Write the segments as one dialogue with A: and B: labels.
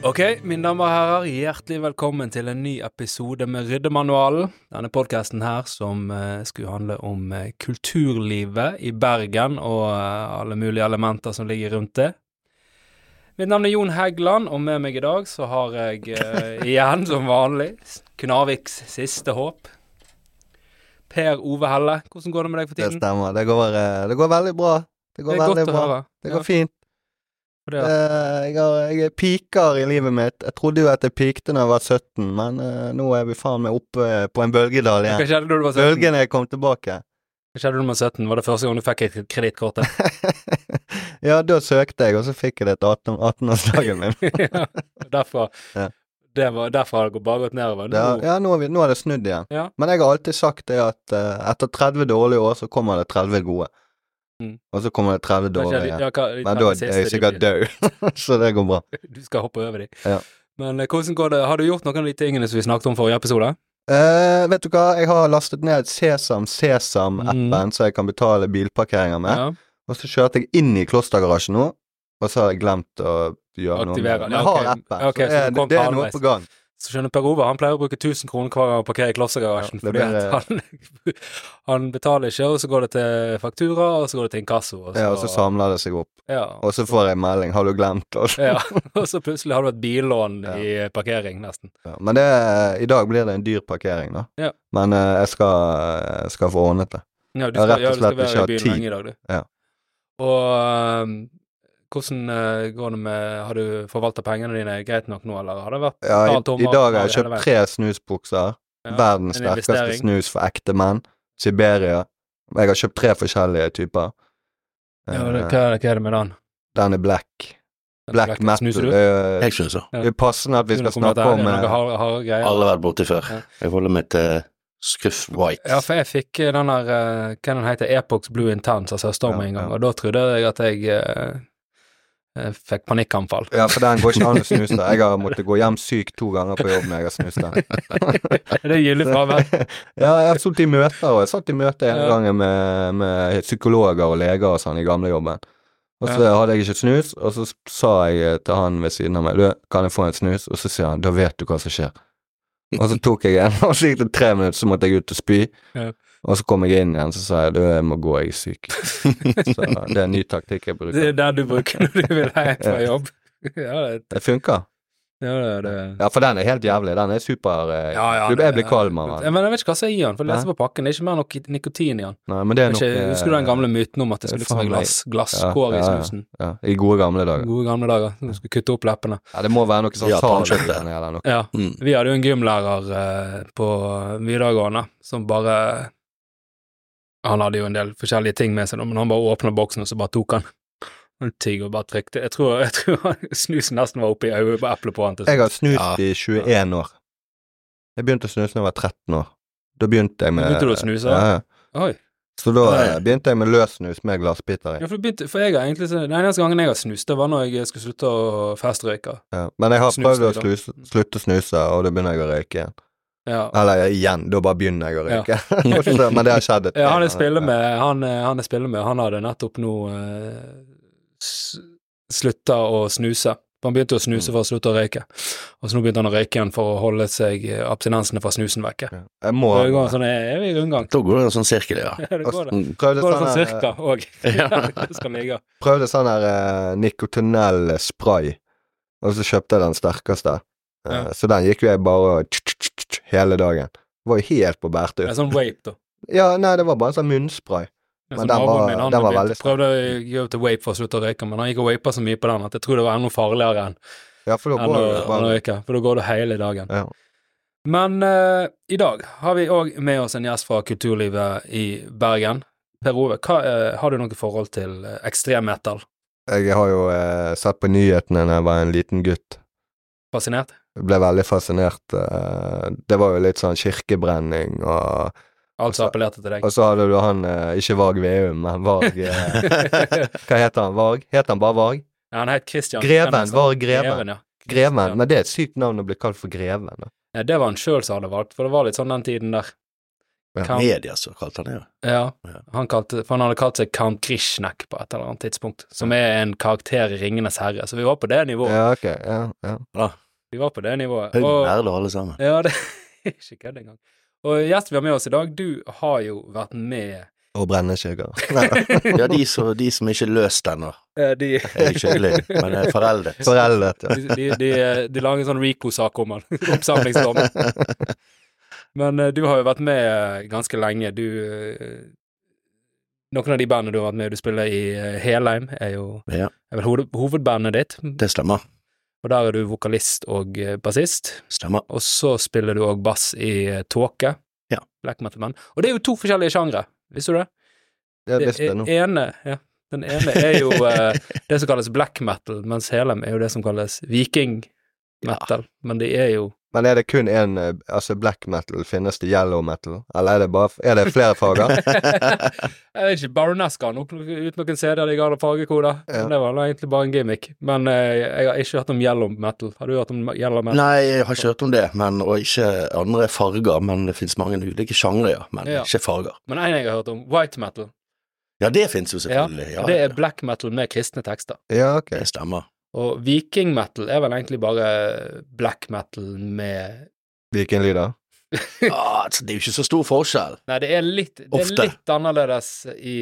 A: Ok, mine damer og herrer, hjertelig velkommen til en ny episode med Ryddemanualen. Denne podkasten her som eh, skulle handle om eh, kulturlivet i Bergen og eh, alle mulige elementer som ligger rundt det. Mitt navn er Jon Heggeland, og med meg i dag så har jeg eh, igjen, som vanlig, Knarviks siste håp. Per Ove Helle, hvordan går det med deg for
B: Det
A: tiden?
B: stemmer. Det går, eh, det går veldig bra. Det går
A: Det er
B: veldig
A: godt å
B: bra.
A: høre.
B: Det
A: Ja,
B: går fint.
A: for det,
B: Eh, Jeg, har, jeg er piker i livet mitt. Jeg trodde jo at jeg pikte når jeg var 17, men eh, nå er vi faen meg oppe eh, på en bølgedal
A: hva
B: igjen.
A: skjedde da du var 17?
B: Bølgene kom tilbake.
A: Hva skjedde da du var 17? Var det første gang du fikk et kredittkortet?
B: ja, da søkte jeg, og så fikk jeg det til 18 18-årsdagen min.
A: ja. Derfor
B: Ja.
A: det var, Derfor har det gått- bare gått nedover.
B: Det har-
A: Nå,
B: ja, nå, har vi, nå er det snudd igjen.
A: Ja.
B: Men jeg har alltid sagt det at eh, etter 30 dårlige år, så kommer det 30 gode.
A: Mm.
B: Og så kommer det 30
A: kanskje-
B: dårlige.
A: ja, hva-
B: Men
A: den
B: da
A: siste
B: er jeg
A: du
B: sikkert
A: blir-
B: død, så det går bra.
A: Du skal hoppe over de.
B: Ja.
A: Men eh, hvordan går det? Har du gjort noen av de tingene som vi snakket om forrige episode?
B: Eh, vet du hva, jeg har lastet ned Sesam Sesam-appen, så jeg kan betale bilparkeringer med.
A: Mm. Ja.
B: Og så kjørte jeg inn i klostergarasjen nå, og så har jeg glemt å gjøre noe. med
A: Aktivere.
B: det. Men
A: Ja,
B: jeg har
A: ok.
B: appen,
A: Ok, så du
B: så, det,
A: kom
B: det
A: på
B: er noe
A: halvveis.
B: på gang.
A: Så skjønner Per Ove, han pleier å bruke 1000 kloner hver gang han parkerer i Klossergarasjen.
B: Ja,
A: fordi
B: det
A: at han, han betaler ikke, og så går det til faktura, og så går det til inkasso. Og så,
B: Ja, og så samler det seg opp.
A: ja.
B: Og så får jeg melding 'har du glemt'? Og så.
A: ja. og så plutselig har du et billån
B: Ja.
A: i parkering, nesten.
B: Ja, Men det, i dag blir det en dyr parkering, da.
A: Ja.
B: Men eh, jeg skal, jeg skal få ordnet det.
A: Ja, du
B: Jeg
A: skal,
B: har rett
A: ja, du
B: og
A: skal
B: slett ikke
A: være i
B: hatt
A: byen
B: tid.
A: lenge i dag, du.
B: Ja.
A: Og ehm, hvordan eh, går det med Har du forvalta pengene dine greit nok nå, eller har det vært
B: Ja, i,
A: totalt tommer-
B: I dag har jeg
A: hele
B: kjøpt
A: veien?
B: tre snusbukser.
A: Ja,
B: Verdens
A: en
B: sterkeste
A: investering.
B: snus for ekte menn. Siberia. Jeg har kjøpt tre forskjellige typer.
A: Ja,
B: Eh,
A: det, hva, hva er det med den?
B: Den er black.
A: Den
B: Black
A: black-
B: metal.
A: snuser du?
B: eh,
C: Jeg snuser.
A: Ja.
B: det er passende at vi skal
A: Kommer
B: snakke
A: dette her,
B: om
A: er det
B: eh,
A: noe harde, harde greier?
C: Alle har vært borti før.
A: Ja.
C: Jeg holder meg til Scruff White.
A: Ja, for jeg fikk eh, den der eh, Hva den heter Epox Blue Intense altså, av søsteren min en
B: Ja,
A: gang,
B: ja.
A: og da trodde jeg at jeg eh, eh, fikk panikkanfall.
B: Ja, for den går ikke an å snuse. Jeg har måttet gå hjem syk to ganger på jobb når jeg har snust den.
A: det er gyldig fravær.
B: ja, jeg har sittet i møter, og jeg satt i møte en
A: Ja.
B: gang med, med psykologer og leger og sånn i gamlejobben. Og så hadde jeg ikke snus, og så sa jeg til han ved siden av meg, du, kan jeg få en snus? Og så sier han, da vet du hva som skjer. Og så tok jeg en, og så gikk det tre minutter, så måtte jeg ut og spy.
A: Ja.
B: Og så kom jeg inn igjen, så sa jeg, du, jeg må gå, jeg er syk. så det er en ny taktikk
A: Det
B: jeg bruker.
A: er der du bruker når du vil hjem fra jobb. Ja, det,
B: Det funker.
A: ja, det, det
B: Ja, for den er helt jævlig. Den er super... eh,
A: Ja, ja,
B: du,
A: det-
B: jeg blir kvalm av
A: Ja,
B: den.
A: Men jeg vet ikke hva som er i den, for jeg leser på pakken, det er ikke mer nok nikotin i den.
B: Nei, men det er nok... eh,
A: Ikke, husker du den gamle myten om at det
B: det er
A: skulle liksom
B: faen
A: være
B: meg-
A: glass, glasskår
B: Ja, ja,
A: i
B: ja.
A: snusen?
B: Ja, i gode gamle dager.
A: Gode gamle dager. Du skulle kutte opp leppene.
B: Ja, det må være noe sånn
C: Ja,
B: sal-
C: tannkjøttet.
B: eller noe.
A: Ja.
C: Mm.
A: Vi hadde jo en gymlærer eh, på videregående som bare Han hadde jo en del forskjellige ting med seg, da, men han bare åpna boksen, og så bare tok han. Han tygg og bare trykte. Jeg tror, jeg tror han- snusen nesten var oppi øyet på eplet på han til
B: Jeg
A: slutt.
B: har snust
C: Ja.
B: i 21 år. Jeg begynte å snuse da jeg var 13 år. Da begynte jeg med
A: Begynte du å snuse?
B: Ja, ja.
A: Oi.
B: Så da
C: Ja, ja.
B: eh, begynte jeg med løssnus med glassbiter i.
A: Ja, for, det begynte, for jeg har egentlig, så- Den eneste gangen jeg har snust, det var når jeg skulle slutte å festrøyke.
B: Ja. Men jeg har
A: Snus
B: prøvd å
A: i dag.
B: sluse, slutte å snuse, og da begynner jeg å røyke igjen.
A: Ja,
B: Eller igjen, da bare begynner jeg å røyke. Så- Men det har skjedd. et-
A: Ja, han jeg spiller
B: Ja.
A: med, han, eh, han jeg spiller med, han hadde nettopp nå eh, s- slutta å snuse. Han begynte å snuse
B: Mm.
A: for å slutte å røyke, og så nå begynte han å røyke igjen for å holde seg eh, abstinensene fra snusen vekke.
B: Ja. Jeg må
A: Så Det går en sånn evig rundgang.
C: Da går det en sånn sirkel, ja.
A: Ja, det går det.
C: Mm.
B: Prøvde
A: Går det
B: sånn
A: sånn
B: her,
A: cirka òg?
C: Ja.
A: Det skal ligge.
B: prøvde sånn her eh, nikotinell spray, og så kjøpte jeg den sterkeste. Eh,
A: Ja.
B: Så den gikk jo jeg bare og tsk-tsk-tsk hele dagen. Var jo helt på bærtur.
A: Det er sånn vape, da.
B: Ja, nei, det var bare en sånn munnspray.
A: Det er
B: Men
A: sånn
B: den
A: naboen
B: var-
A: min, han
B: den var
A: begynte-
B: veldig sterk.
A: Prøvde å gjøre til vape for å slutte å røyke, men han gikk og vapa så mye på den at jeg tror det var enda farligere enn
B: Ja, for da
A: enn å,
B: går det
A: enn å
B: bare
A: røyke, for da går du hele dagen.
B: Ja.
A: Men eh, i dag har vi òg med oss en gjest fra kulturlivet i Bergen. Per Ove, hva, eh, har du noe forhold til eh, ekstremmetal?
B: Jeg har jo eh, sett på nyhetene da jeg var en liten gutt.
A: Fascinert?
B: Jeg Ble veldig fascinert. eh, det var jo litt sånn kirkebrenning og
A: Alt
B: Altså,
A: som Altså appellerte til deg?
B: Og så hadde du han eh, Ikke Varg Veum, men Varg eh, Hva heter han? Varg? Heter han bare Varg?
A: Ja, han het Christian.
B: Greven. Varg Greven.
A: Greven, ja.
B: Greven.
A: Ja.
B: Men det er et sykt navn å bli kalt for Greven. da.
A: Ja, det var han sjøl som hadde valgt, for det var litt sånn den tiden der. Kan-
C: Media, så kalte han det jo.
A: Ja,
C: Ja.
A: han, kalte, for han hadde kalt seg Count Grishnek på et eller annet tidspunkt, som er en karakter i Ringenes herre, så vi var på det nivået.
B: Ja, ok. Ja, ja.
A: Vi var på det nivået.
C: Høy
A: Og,
C: perle, alle sammen.
A: ja, det ikke kødd engang. Og gjest vi har med oss i dag, du har jo vært med
B: Og brennekjeger.
C: Ja, de, som- de som ikke er løst ennå.
A: eh, de,
C: Jeg er ikke hyggelig, men jeg er foreldet.
B: Foreldet, ja.
A: de, de, de, de lager en sånn Rico-sak om han, oppsamlingsdom. Men eh, du har jo vært med ganske lenge. Du eh, Noen av de bandene du har vært med i, du spiller i eh, Helheim, er jo
C: Ja.
A: er vel hoved, hovedbandet ditt.
C: Det stemmer.
A: Og der er du vokalist og eh, bassist.
C: Stemmer.
A: Og så spiller du òg bass i eh, Tåke.
C: Ja.
A: Black Metal Band. Og det er jo to forskjellige sjangre, visste du det?
B: Det
A: Det
B: visste jeg nå.
A: e- ene, ja, den ene er jo eh, det som kalles black metal, mens Helem er jo det som kalles viking metal. Men de er jo
B: Men er det kun én eh, Altså, black metal, finnes det yellow metal? Eller er det bare Er det flere fager?
A: Jeg vet ikke, Baronesca har nok ut noen CD-er de ga det fargekoder.
B: Ja.
A: Det var egentlig bare en gimmick. Men eh, jeg har ikke hørt om yellow metal. Har du hørt om yellow metal?
C: Nei, jeg har ikke hørt om det, men, og ikke andre farger, men det finnes mange ulike sjangre, ja, men
A: Ja.
C: ikke farger.
A: Men en jeg har hørt om, white metal.
C: Ja, det finnes jo selvfølgelig. Ja,
A: Det er black metal med kristne tekster.
B: Ja, ok.
C: det stemmer.
A: Og viking metal er vel egentlig bare black metal med
B: Vikinglyder?
C: Ja, altså, det er jo ikke så stor forskjell.
A: Nei, det er litt, det er
C: Ofte.
A: litt annerledes i,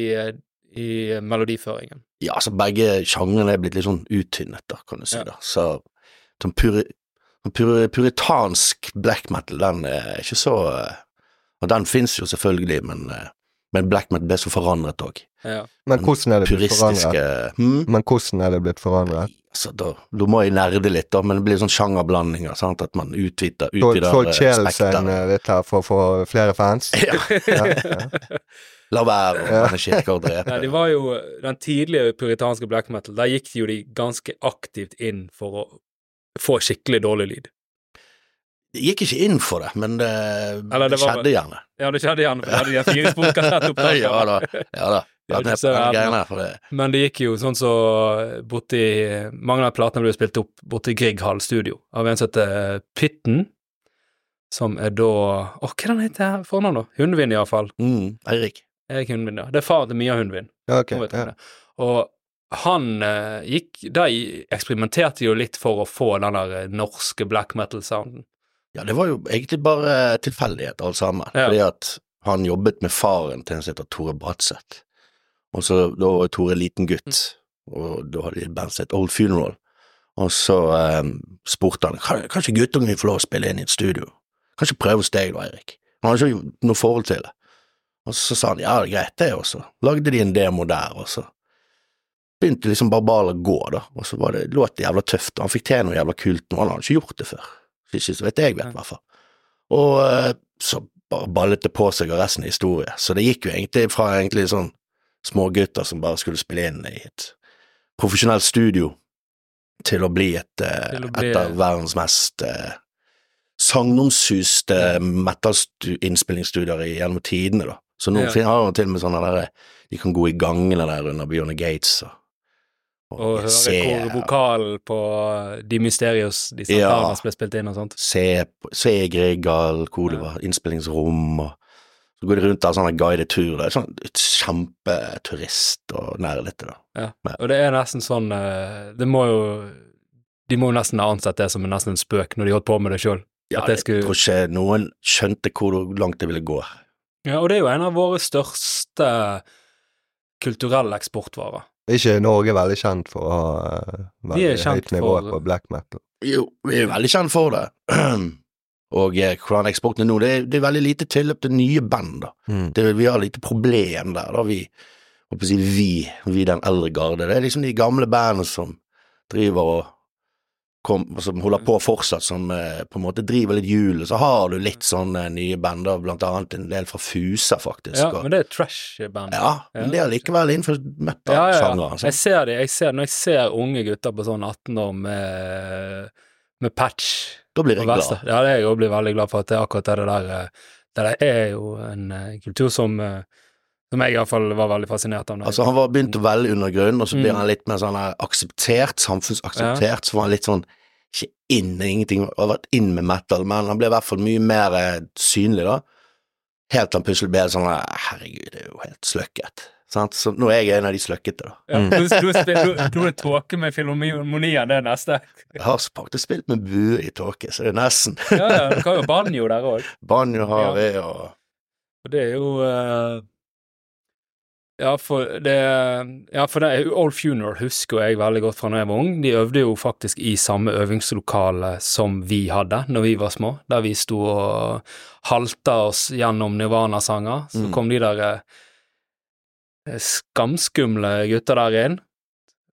A: i melodiføringen.
C: Ja, altså, begge sjangrene er blitt litt sånn uttynnet, da, kan du si.
A: Ja.
C: da. Så sånn puri, sånn puri, puritansk black metal, den er ikke så eh, Og den finnes jo selvfølgelig, men, eh, men black metal ble så forandret òg.
A: Ja.
B: Men hvordan er det blitt forandret?
C: Puristiske hm?
B: Men hvordan er det blitt forandret?
C: Altså, da, da må jeg nerde litt, da, men det blir sånn sjangerblandinger, sant, at man utvider,
B: Sol-
C: utvider
B: Solgt
C: eh,
B: Kjelsen
C: spekteret.
B: eh, litt her for å få flere fans?
C: Ja,
B: Ja, ja.
C: la være å
B: Ja.
C: brenne kirker og drepe.
A: Nei, det var jo den tidlige puritanske black metal. Der gikk jo de ganske aktivt inn for å få skikkelig dårlig lyd.
C: Jeg gikk ikke inn for det, men det,
A: Eller
C: det,
A: det var-
C: skjedde gjerne.
A: Ja, det skjedde igjen, for de hadde de her fire sporkassettopptakene.
C: ja da. Ja da.
A: Det er
C: Den
A: ikke så verden,
C: greien her, for det.
A: Men det gikk jo sånn så borti Mange av platene ble spilt opp borti Grieghall studio av en som heter Pytten, som er da Å, hva er det han heter her fornavn, da? Hundvin, iallfall.
C: Mm, Eirik.
A: Erik Hundvin, ja. Det er faren til Mia Hundvin.
B: Ja, ok.
A: nå vet
B: Ja.
A: jeg det. Og han eh, gikk De eksperimenterte jo litt for å få den der eh, norske black metal-sounden.
C: Ja, det var jo egentlig bare tilfeldighet, alt sammen.
A: Ja.
C: Fordi at han jobbet med faren til en som heter Tore Bratseth. Og så da var Tore liten gutt, og da hadde de et band som het Old Funeral. Og så eh, spurte han kan, kanskje guttungen din får lov å spille inn i et studio. Kanskje prøve hos deg da, Eirik. Han hadde ikke noe forhold til det. Og så sa han ja, det er greit det, og så lagde de en demo der, og så begynte liksom Barbal å gå, da. Og så var det, låt det jævla tøft, og han fikk til noe jævla kult, og han hadde ikke gjort det før. Ikke så vidt jeg vet, i hvert fall. Og eh, så bare ballet det på seg, og resten er historie. Så det gikk jo egentlig fra egentlig sånn smågutter som bare skulle spille inn i et profesjonelt studio, til å bli et eh,
A: Til å bli-
C: et av verdens mest eh, sagnomsuste metal-innspillingsstudier gjennom tidene, da. Så nå
A: Ja.
C: fin- har han til og med sånne der eh, De kan gå i gangene der under Bjørne Gates og,
A: Og høre hvor vokalen på eh, De Mysterios, de
C: Ja.
A: santarene ble spilt inn og sånt.
C: se, på- se Gregal, hvor det
A: Ja.
C: var innspillingsrom, og så går de rundt der sånn guidet tur. Det er sånn et kjempeturist og nerdete, da.
A: Og det er nesten sånn eh, Det må jo De må jo nesten ha ansett det som en- nesten en spøk når de holdt på med det sjøl.
C: Ja,
A: At det
C: jeg
A: skulle-
C: tror ikke noen skjønte hvor langt det ville gå.
A: Ja, og det er jo en av våre største kulturelle eksportvarer.
B: Ikke Norge veldig kjent for å ha eh,
A: Vi er
B: veldig
A: kjent
B: høyt nivå
A: for-
B: på black metal.
C: Jo, vi er veldig kjent for det. Og eh, hvordan eksporten er nå, det er, det er veldig lite tilløp til nye band, da. det, vi har lite problem der, da, vi, håper jeg å si vi, vi den eldre garde. Det er liksom de gamle bandene som driver og kom, som holder på fortsatt, som eh, på en måte driver litt hjulet. Så har du litt sånne nye bander, blant annet en del fra Fusa, faktisk.
A: Ja,
C: og-
A: men det er trash-band.
C: ja, men det er likevel innenfor metal-sjangeren. sant?
A: Jeg ser det. Jeg ser, når jeg ser unge gutter på sånn 18 år med, med patch
C: Da blir
A: Og
C: jeg
A: Vest,
C: glad.
A: Ja, det er jeg òg veldig glad for at det er akkurat det der eh, Det der er jo en eh, kultur som eh, som jeg iallfall var veldig fascinert av. da jeg-
C: Altså, han var begynt veldig under grunnen, og så blir
A: Mm.
C: han litt mer sånn her akseptert, samfunnsakseptert, så var han litt sånn ikke inn i ingenting, han har vært inn med metal, men han ble i hvert fall mye mer eh, synlig, da. helt sånn puslebit sånn Herregud, det er jo helt sløkket. Sant? Så nå er jeg en av de sløkkete, da.
A: Ja, nå, nå, nå, nå er det tåke med filharmonia, det er neste.
C: Jeg har faktisk spilt med bue i tåke, så det er nesten.
A: Ja, ja, du kan jo banjo der òg.
C: Banjo har jeg, og
A: Og det er jo eh, ja, for det, ja, for det er- Old Funeral husker jeg veldig godt fra da jeg var ung. De øvde jo faktisk i samme øvingslokale som vi hadde når vi var små, der vi sto og halta oss gjennom Nirvana-sanger. Så
C: Mm.
A: kom de der eh, skamskumle gutta der inn,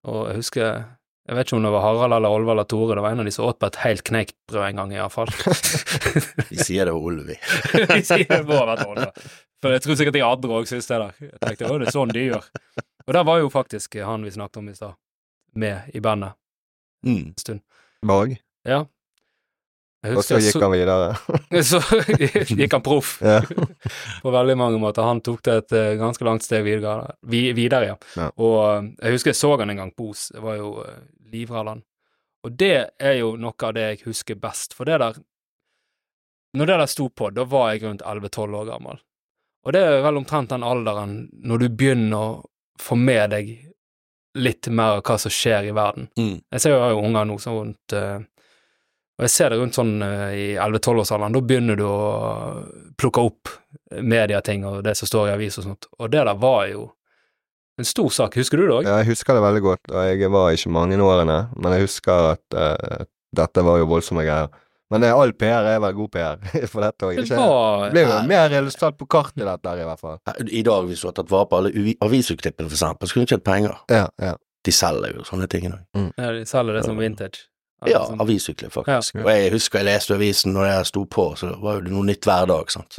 A: og jeg husker jeg vet ikke om det var Harald eller Olve eller Tore, det var en av de som åt på et helt kneiktbrød en gang, iallfall.
C: Vi sier det var Olvi.
A: Vi sier det må ha vært Olve. For jeg tror sikkert de andre òg synes det der. Jeg tenkte å, det er sånn de gjør. Og der var jo faktisk han vi snakket om i stad, med i bandet
C: Mm.
A: en stund.
B: Borg.
A: Ja. Jeg
B: Og så
A: husker
B: gikk han videre.
A: så, så gikk han proff
B: Ja.
A: på veldig mange måter. Han tok det et eh, ganske langt steg videre, vi- videre ja.
B: Ja.
A: Og eh, jeg husker jeg så han en gang på Os. Jeg var jo eh, livredd han. Og det er jo noe av det jeg husker best, for det der Når det der sto på, da var jeg rundt 11-12 år gammel. Og det er vel omtrent den alderen når du begynner å få med deg litt mer av hva som skjer i verden.
C: Mm.
A: Jeg ser jo jeg har jo unger nå sånn rundt eh, Og jeg ser det rundt sånn eh, i 11-12-årsalderen. Da begynner du å plukke opp medieting og det som står i avis og sånt. Og det der var jo en stor sak. Husker du det òg?
B: Ja, Jeg husker det veldig godt, og jeg var ikke mange årene, men jeg husker at eh, dette var jo voldsomme greier. Men eh, all PR er vel god PR for dette òg,
A: Det
B: ikke? Det
A: var
B: ble jo mer illustrert på kartet, dette her, i hvert fall.
C: Eh, I dag, hvis du har tatt vare på alle uvi- avisutklippene, for eksempel, skulle du tjent penger.
B: Ja, ja.
C: De selger jo sånne ting i dag.
A: Ja, De selger det som vintage.
C: Ja,
A: som-
C: avisutklipp, faktisk. Og jeg husker jeg leste avisen når jeg sto på, så var jo det noe nytt hver dag, sant.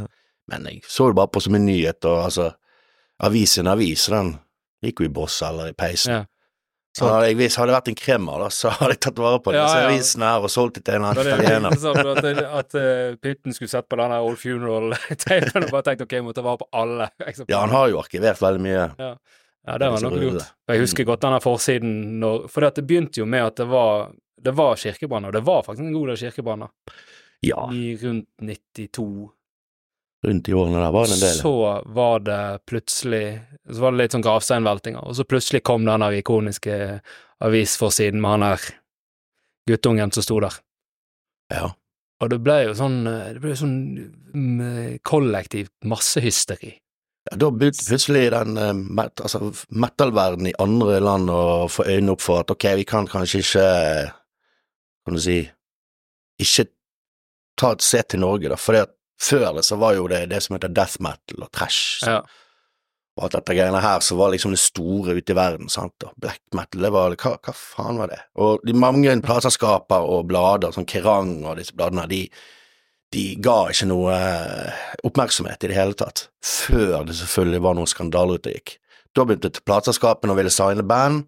C: Men jeg så det bare på som en nyhet, og altså, avisen avis, den gikk jo i boss eller i peisen.
A: Ja.
C: Så hadde jeg, hvis hadde det vært en kremmer, da, så hadde jeg tatt vare på
A: Ja,
C: disse
A: ja.
C: avisene her og solgt det til en
A: Da
C: eller
A: det
C: annen
A: er
C: italiener.
A: litt sånn at, at eh, Pytten skulle sett på den her Old Funeral-teipen og bare tenkt ok, jeg må ta vare på alle.
C: Ja, han har jo arkivert veldig mye.
A: Ja, det var
C: Liksom
A: nok
C: rullet.
A: lurt. Og Jeg husker godt denne forsiden når For det begynte jo med at det var det var kirkebranner, og det var faktisk en god del kirkebranner.
C: Ja,
A: I rundt 92.
C: rundt i årene der var det en del.
A: Så var det plutselig Så var det litt sånn gravsteinveltinger, og så plutselig kom den der ikoniske avisforsiden med han her guttungen som sto der.
C: Ja.
A: Og det ble jo sånn eh, Det ble jo sånn mm, kollektivt massehysteri.
C: Ja, Da begynte plutselig den eh, met, altså, metal-verdenen i andre land å få øynene opp for at ok, vi kan kanskje ikke eh, Kan du si Ikke ta et se til Norge, da. For det at før det så var jo det det som heter death metal og trash.
A: Ja.
C: Og alt dette greiene her så var liksom det store ute i verden, sant. Og black metal, det var hva, hva faen var det? Og de mange plateselskaper og blader, sånn Kerrang og disse bladene, her, de, de ga ikke noe eh, oppmerksomhet i det hele tatt. Før det selvfølgelig var noen skandaler ute og gikk. Da begynte plateselskapene å ville signe band,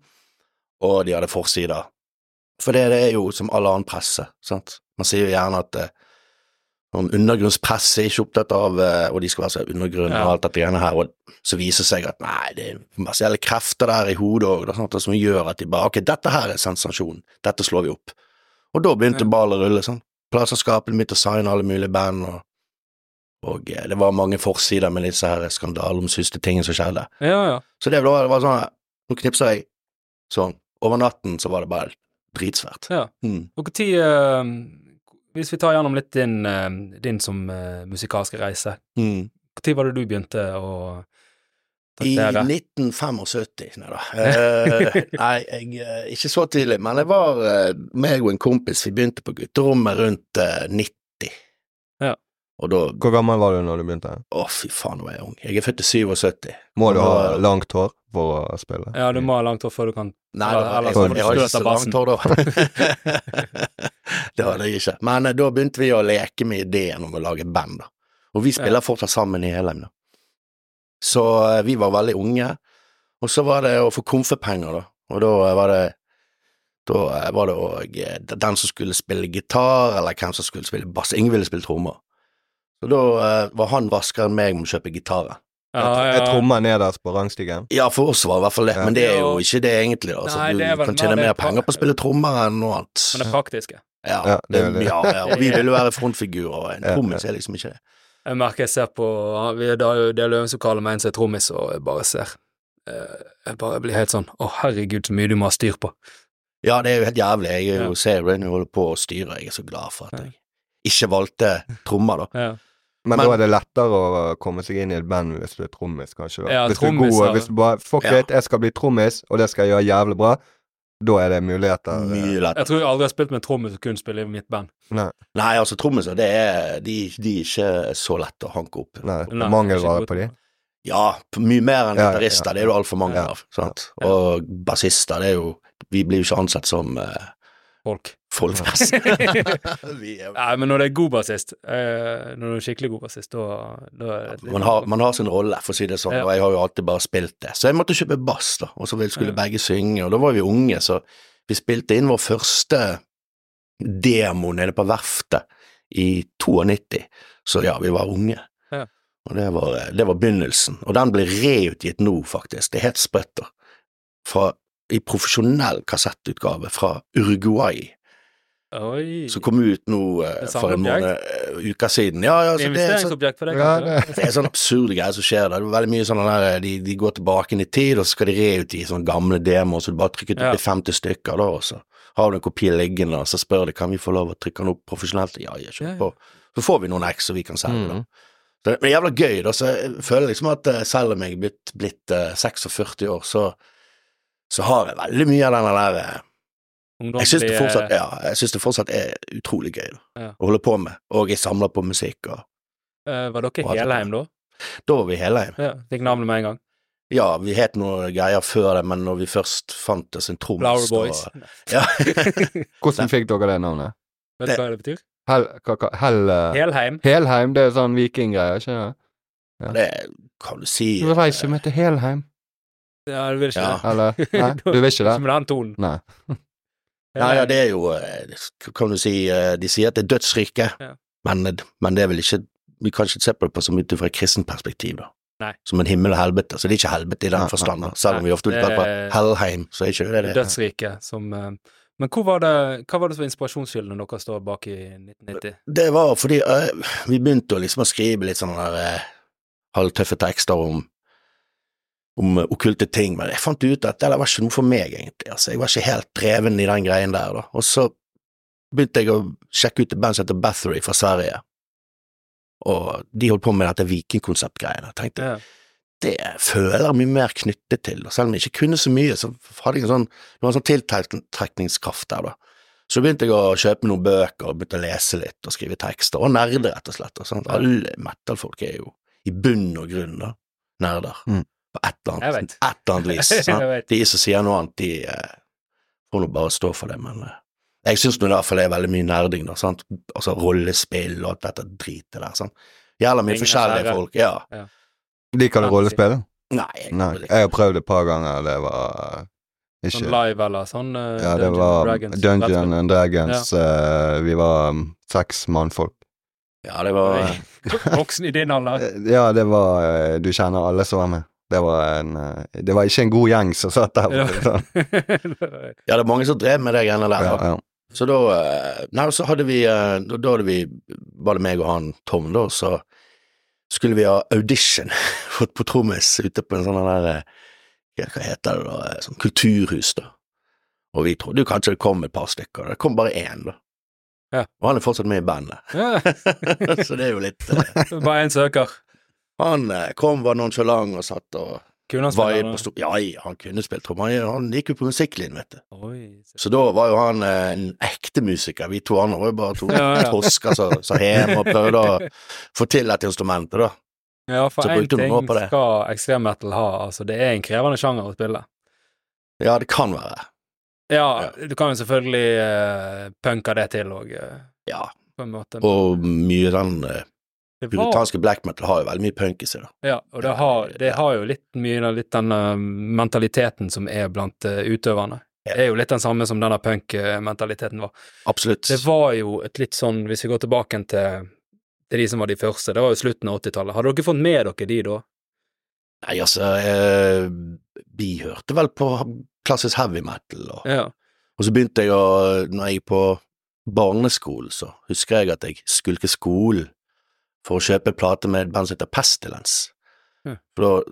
C: og de hadde forsider. For det, det er jo som all annen presse, sant. Man sier jo gjerne at eh, om undergrunnspresse er ikke opptatt av, eh, og de skal være så undergrunn
A: Ja.
C: og alt dette greiene her, og så viser det seg at nei, det er kommersielle krefter der i hodet òg, det er sånt som gjør at de bare ok, dette her er sensasjon, dette slår vi opp. Og da begynte
A: Ja.
C: ballen å rulle, sånn. Plateselskapene begynte å signe alle mulige band, og, og eh, det var mange forsider med disse her skandaleomsuste tingene som skjedde.
A: Ja, ja.
C: Så det var, det var sånn, nå knipsa jeg sånn, over natten så var det bare dritsvært.
A: Ja.
C: Mm.
A: Og hvor tid eh, Hvis vi tar gjennom litt din, eh, din som eh, musikalske reise,
C: Mm.
A: hvor tid var det du begynte å
C: I
A: traktere?
C: 1975, nei da. Eh, nei, jeg, eh, ikke så tidlig, men jeg var eh, meg og en kompis, vi begynte på gutterommet rundt eh, 90.
A: Ja.
C: Og da
B: Hvor gammel var du når du begynte?
C: Å, fy faen, nå er jeg ung. Jeg er født i 77.
B: Må du ha
C: Ja.
B: langt hår for å spille?
A: Ja, du må ha langt hår før du kan
C: Nei,
A: Ja,
C: det var,
A: ellers
C: jeg,
B: hadde
C: jeg hadde
A: du
C: ikke så langt hår da. det hadde jeg ikke. Men eh, da begynte vi å leke med ideen om å lage band, da. Og vi spiller fortsatt sammen i Helheim, da. Så eh, vi var veldig unge. Og så var det å få komfepenger, da. Og da eh, var det da eh, var det òg den som skulle spille gitar, eller hvem som skulle spille bass. Ingen ville spille trommer. Så da eh, var han raskere enn meg om å kjøpe gitaren.
A: ja,
B: Jeg trommer nederst på rangstigen.
C: Ja, for oss var det i hvert fall det,
B: Ja.
C: men det er jo
A: Jo.
C: ikke det egentlig. Da. Altså,
A: Nei, det er
C: du
A: vel
C: kan
A: mer
C: tjene
A: det
C: mer
A: pra-
C: penger på å spille trommer enn noe annet.
A: Men det praktiske.
C: Ja,
B: Ja, det
C: det,
B: er jo det.
C: ja, ja, og vi vil jo være frontfigurer, og en
B: Ja,
C: trommis er liksom ikke det.
A: Jeg merker jeg ser på vi er da jo Det er Løven som kaller meg en som er trommis, og jeg bare ser eh, Jeg bare blir helt sånn Å, herregud, så mye du må ha styr på.
C: Ja, det er jo helt jævlig. Jeg er jo
A: Ja.
C: ser Rainy holder på å styre, jeg er så glad for at jeg ikke valgte trommer, da.
A: Ja.
B: Men,
C: Men-
B: da er det lettere å komme seg inn i et band hvis du er trommis, kanskje. Da.
A: Ja,
B: hvis, du er
A: trommis,
B: god,
A: ja.
B: hvis du bare Fuck
C: Ja.
B: it, jeg skal bli trommis, og det skal jeg gjøre jævlig bra. Da er det muligheter. eh,
C: Mye lett.
A: Jeg tror jeg aldri har spilt med en trommis og kun spille i mitt band.
C: Nei, altså, trommiser, det er de, de er ikke så lett å hanke opp.
B: Nei,
A: Nei,
B: mangelvare
A: ikke
B: på de.
A: god.
C: Ja, p- mye mer enn
B: Ja, ja,
C: gitarister,
B: ja.
C: det er det altfor mange
B: Ja.
C: av. Sant?
A: Ja.
C: Og bassister, det er jo Vi blir jo ikke ansett som eh,
A: Folk.
C: folkfest. Vi er-
A: Nei, men når det er god bassist, eh, når du er skikkelig god bassist, da, da er det
C: man, har, man har sin rolle, for å si det sånn,
A: Ja.
C: og jeg har jo alltid bare spilt det. Så jeg måtte kjøpe bass, da, og så vel skulle
A: Ja.
C: begge synge, og da var vi unge, så vi spilte inn vår første demo nede på verftet i 92, så ja, vi var unge.
A: Ja.
C: Og det var, det var begynnelsen, og den ble reutgitt nå, faktisk. Det er helt sprøtt, da. Fra, I profesjonell kassettutgave fra Uruguay,
A: Oi.
C: som kom ut nå eh,
A: Det samme
C: for en
A: objekt?
C: måned, eh, uker siden. Ja, ja, så det er så
A: Investeringsobjekt for deg,
B: Ja,
A: kanskje?
B: det.
C: det er sånne absurde greier som skjer der. Det er veldig mye sånn der, de, de går tilbake inn i tid, og så skal de reutgi sånne gamle demoer, så du bare trykker opp
A: Ja.
C: i 50 stykker da, og så har du en kopi liggende, og så spør de kan vi få lov å trykke den opp profesjonelt. Ja, ja,
A: Ja, ja.
C: kjør på. Så får vi noen X som vi kan selge, da.
B: Mm.
C: Så det men det er jævla gøy, da, så jeg føler liksom at eh, selv om jeg er blitt, blitt eh, 46 år, så, så har jeg veldig mye av den der eh,
A: Ungdomslig,
C: jeg syns det,
A: eh,
C: fortsatt- ja, jeg synes det fortsatt er utrolig gøy da,
A: Ja.
C: å holde på med, og jeg samler på musikk, og
A: eh, Var dere
C: Og alt det
A: Helheim da?
C: da var vi hele
A: Ja, fikk navnet med en gang.
C: Ja, vi het noe greier før det, men når vi først fant oss en trommis
A: Flower Boys.
C: og- Ja,
B: Hvordan fikk dere det navnet?
A: Vet
C: Det-
A: du hva det betyr?
B: Hel... Hva, hva, hel eh,
A: Helheim.
B: Helheim, det er sånn vikinggreier, ikke sant?
C: det kan du si.
B: Du reiser med til Helheim,
A: Ja, du vil ikke
C: Ja.
A: det?
B: eller? Nei, du vil ikke det?
A: Som den tonen. Eh,
B: Nei.
C: Nei, ja, det er jo eh, Kan du si eh, De sier at det er dødsriket,
A: Ja.
C: men, eh, men det er vel ikke Vi kan ikke se på det på som ut fra et kristent perspektiv, da.
A: Nei.
C: Som en himmel og helvete. Så det er ikke helvete i
B: Nei,
C: den
B: nei,
C: forstand, da.
B: nei.
C: selv om vi ofte
A: Nei,
C: vil på
A: det er-
C: Hellheim, så er ikke det det.
A: Dødsriket som eh, Men hvor var det, hva var det som var inspirasjonskilden når dere står bak i 1990?
C: Det var fordi eh, vi begynte å liksom å skrive litt sånne der eh, halvtøffe tekster om om eh, okkulte ting, men jeg fant ut at det der var ikke noe for meg, egentlig. Altså, jeg var ikke helt dreven i den greien der, da. Og så begynte jeg å sjekke ut et band som heter Bathory fra Sverige, og de holdt på med dette vikingkonseptgreiene. Jeg tenkte
A: Ja.
C: det føler jeg mye mer knyttet til, og selv om jeg ikke kunne så mye, så hadde jeg en sånn, det var en sånn tiltrekningskraft der, da. Så begynte jeg å kjøpe noen bøker, og begynte å lese litt og skrive tekster, og nerde, rett og slett. Og sånt.
A: Ja.
C: Alle metalfolk er jo i bunn og grunn da, nerder,
B: Mm.
C: på et eller
A: Jeg
C: annet,
A: vet.
C: et eller annet vis. sant?
A: Jeg vet.
C: De som sier noe annet, de eh, får nå bare stå for det, men eh, jeg syns nå i hvert fall det er veldig mye nerding, da, sant, altså rollespill og alt dette dritet der, sant. Gjelder mye
A: Ringenes
C: forskjellige
A: herre.
C: folk, ja.
B: Liker du rollespill?
C: Nei, jeg,
B: Nei. Jeg har prøvd et par ganger, det var eh,
A: Sånn
B: ikke
A: live eller sånn eh,
B: Ja, det
A: Dungeon
B: var
A: Dragons,
B: Dungeon
A: rettspill.
B: and Dragons. eh, vi var mm, seks mannfolk.
C: Ja, det var
A: Voksen i din alder.
B: Eh, Ja, det var eh, Du kjenner alle som var med. Det var, en, eh, det var ikke en god gjeng som satt der.
A: Ja.
B: Ja.
C: Ja, det er mange som drev med det greiene der. da.
B: Ja,
C: Så da eh, Nei, så hadde vi eh, Da da hadde vi Var det meg og han Tom, da, så skulle vi ha audition for- på trommis ute på en sånn der eh, Hva heter det, da? eh, Sånn kulturhus, da. Og vi trodde jo kanskje det kom et par stykker. Det kom bare én, da.
A: Ja.
C: Og han er fortsatt med i bandet,
A: Ja,
C: så det er jo litt eh,
A: Bare én søker.
C: Han eh, kom, var nonchalant og satt og
A: Kunne han
C: vaiet
A: spille
C: på stor... Ja, ja, han kunne spilt trommer, han han gikk jo på musikklinjen, vet du.
A: Oi.
C: Så da var jo han eh, en ekte musiker, vi to andre var jo bare to
A: Ja, ja.
C: tosker som som hjem og prøvde å få til dette instrumentet, da.
A: Ja, for
C: Så
A: én
C: brukte du noe
A: ting
C: på det.
A: skal ekstrem metal ha, altså det er en krevende sjanger å spille.
C: Ja, det kan være.
A: Ja, du kan jo selvfølgelig uh, punke det til òg,
C: Ja,
A: på en måte.
C: og mye den eh,
A: det var,
C: puritanske black metal har jo veldig mye punk i seg, da.
A: ja, og det har, det har jo litt mye av litt den eh, mentaliteten som er blant eh, utøverne.
C: Ja.
A: Det er jo litt den samme som denne punk-mentaliteten var.
C: Absolutt.
A: Det var jo et litt sånn, hvis vi går tilbake til, til de som var de første, det var jo slutten av 80-tallet. Hadde dere fått med dere de da?
C: Nei, altså, eh, vi hørte vel på klassisk heavy metal, og,
A: Ja.
C: og så begynte jeg å Når jeg gikk på barneskolen, så husker jeg at jeg skulket skolen for å kjøpe plate med et band som heter Pestilence.
A: Hm.
C: For da,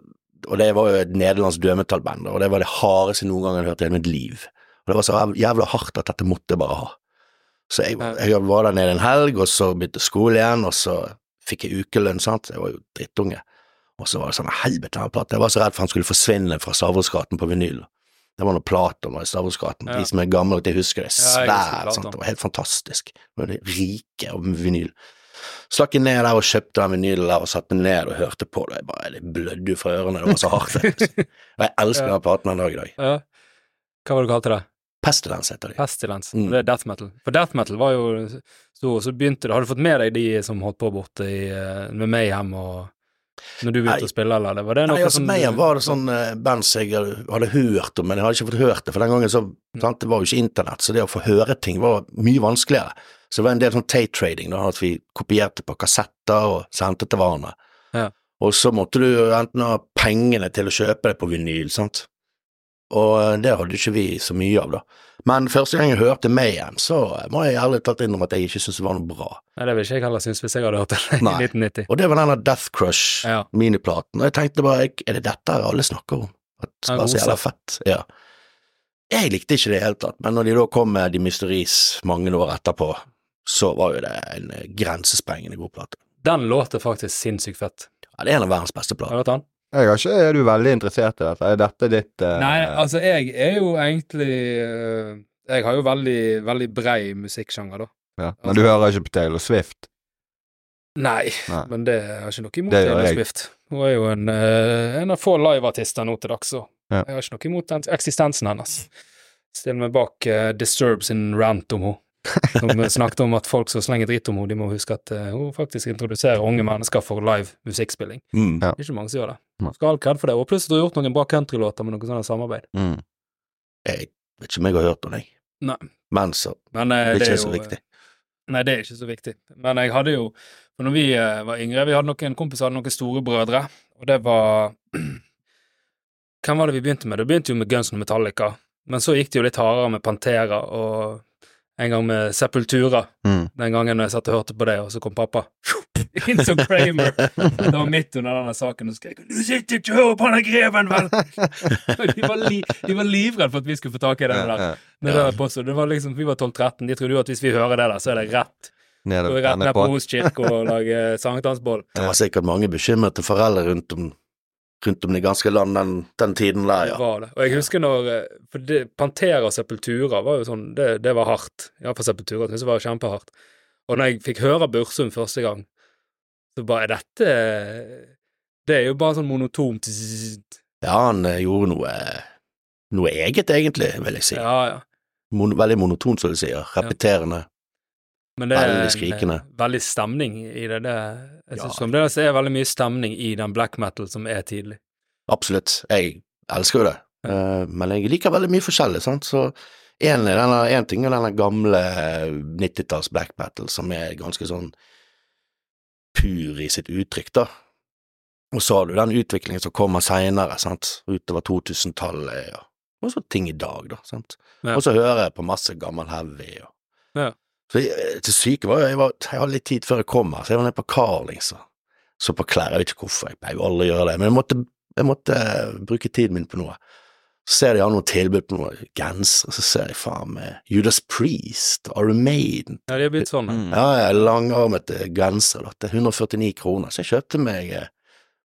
C: og det var jo et nederlandsk dømetallband, og det var det hardeste jeg noen gang hadde hørt i hele mitt liv. Og det var så jævla hardt at dette måtte jeg bare ha. Så jeg,
A: Ja.
C: jeg var der nede en helg, og så begynte skole igjen, og så fikk jeg ukelønn, sant, jeg var jo drittunge. Og så var det sånn helvete den platen, jeg var så redd for han skulle forsvinne fra Stavresgaten på vinyl. Det var noe Platon var i Stavresgaten,
A: Ja.
C: de som er gamle, de husker det,
A: Ja, jeg husker
C: svært,
A: Platon.
C: sant, det var helt fantastisk, det var det rike og vinyl. Slakk jeg ned der og kjøpte den vinylen der og satte meg ned og hørte på det, jeg bare, det blødde jo fra ørene, det var så hardt. Og jeg elsker
A: Ja.
C: den platen den dag i dag.
A: Ja. Hva var det du kalte det?
C: Pestilens heter de.
A: Pestilence.
C: Mm.
A: Det er death metal. For death metal var jo stor, så begynte det Har du fått med deg de som holdt på borte i, eh, med Mayhem og Når du
C: Nei.
A: begynte å spille, eller? det- Var det noe
C: Nei, altså,
A: som
C: meg var det sånn eh, band som jeg hadde hørt om, men jeg hadde ikke fått hørt det, for den gangen så, sant, det var jo ikke internett, så det å få høre ting var mye vanskeligere. Så det var en del sånn tape-trading, da, at vi kopierte på kassetter og sendte til hverandre.
A: Ja.
C: Og så måtte du enten ha pengene til å kjøpe det på vinyl, sant. Og eh, det hadde ikke vi så mye av, da. Men første gang jeg hørte Mayhem, så eh, må jeg ærlig talt innrømme at jeg ikke syntes det var noe bra.
A: Nei, det ville ikke jeg heller synes hvis jeg hadde hørt det i
C: Nei.
A: 1990.
C: Og det var denne Death Crush
A: Ja.
C: miniplaten. Og jeg tenkte bare, er det dette alle snakker om? At det
A: Ja,
C: var så
A: god
C: jævla fett. Ja. Jeg likte ikke det i det hele tatt, men når de da kom med De Mysteries mange år etterpå, så var jo det en eh, grensesprengende god plate.
A: Den låter faktisk sinnssykt fett.
C: Ja, det er en av verdens beste
A: Har du
C: plater.
A: hørt den?
B: Jeg har ikke, er du veldig interessert i dette? Er dette ditt eh,
A: Nei, altså, jeg er jo egentlig eh, Jeg har jo veldig, veldig brei musikksjanger, da.
B: ja. Men du hører ikke på Taylor Swift?
A: Nei,
B: Nei.
A: men det har jeg ikke noe imot
B: Det gjør
A: Taylor
B: jeg.
A: Swift. Hun er jo en, eh, en av få liveartister nå til dags, så
B: Ja.
A: jeg har ikke noe imot den, eksistensen hennes. Stiller meg bak eh, Disturb sin rant om henne, som snakket om at folk som slenger drit om henne, de må huske at eh, hun faktisk introduserer unge mennesker for live musikkspilling.
C: Mm.
B: Ja.
A: Det er ikke mange som gjør det.
B: Nei.
A: Skal ha all kred for det. Og plutselig har hun gjort noen bra countrylåter med noe sånt samarbeid.
B: Mm.
C: Jeg vet ikke om jeg har hørt den, jeg.
A: Nei.
C: Men så,
A: Men eh,
C: det er
A: det
C: ikke
A: er
C: så
A: jo
C: viktig.
A: Nei, det er ikke så viktig. Men jeg hadde jo for Når vi eh, var yngre, vi hadde noen kompiser hadde noen storebrødre, og det var Hvem var det vi begynte med? Det begynte jo med Guns og Metallica, men så gikk det jo litt hardere med Pantera og en gang med Sepultura,
B: Mm.
A: den gangen jeg satt og hørte på det, og så kom pappa. Inn som Kramer. Det var midt under denne saken, og så skrek han 'Du sitter ikke og hører på han der greven, vel!' Og de var, li de var livredde for at vi skulle få tak i den
B: Ja,
A: der.
B: ja.
A: Men det var påstått. Det var liksom, vi var 12-13, de trodde jo at hvis vi hører det der, så er det rett.
B: Ned
A: Gå
B: og
A: rett
B: tenne
A: ned på
B: på.
A: Oskirka og lage sankthansboll.
C: Det var sikkert mange bekymrede foreldre rundt om, rundt om det ganske land den, den tiden der,
A: Det
C: ja.
A: var det. Og jeg husker når eh, For det, Pantera og Sepultura var jo sånn Det, det var hardt. Iallfall Sepultura syntes jeg var kjempehardt. Og når jeg fikk høre Bursum første gang, så bare er dette eh, Det er jo bare sånn monotont zzz.
C: Ja, han eh, gjorde noe, noe eget, egentlig, vil jeg si.
A: Ja, ja.
C: Mon veldig monoton, som du sier. Repeterende.
A: Men det er
C: Veldig
A: en, eh,
C: skrikende.
A: veldig stemning i det. det jeg
C: Ja.
A: synes fremdeles det er veldig mye stemning i den black metal som er tidlig.
C: Absolutt. Jeg elsker jo det.
A: Ja.
C: Eh, men jeg liker veldig mye forskjellig, sant. Så en, er denne, en ting er denne gamle 90-talls black metal, som er ganske sånn pur i sitt uttrykk, da. Og så har du den utviklingen som kommer seinere, sant, utover 2000-tallet, ja. og så ting i dag, da, sant.
A: Ja.
C: Og så hører jeg på masse gammel heavy og
A: Ja.
C: Så jeg, til syke var jeg, jeg, var, jeg hadde litt tid før jeg kom her, så jeg var nede på Carlings og så på klær, jeg vet ikke hvorfor, jeg pleier jo aldri å gjøre det, men jeg måtte, jeg måtte eh, bruke tiden min på noe. Så ser jeg de har noe tilbud på noe genser, så ser jeg faen meg Judas Priest, Iron Maiden,
A: Ja, de har blitt sånn.
B: Mm.
C: ja, ja, langarmete genser da, til 149 kroner, så jeg kjøpte meg eh,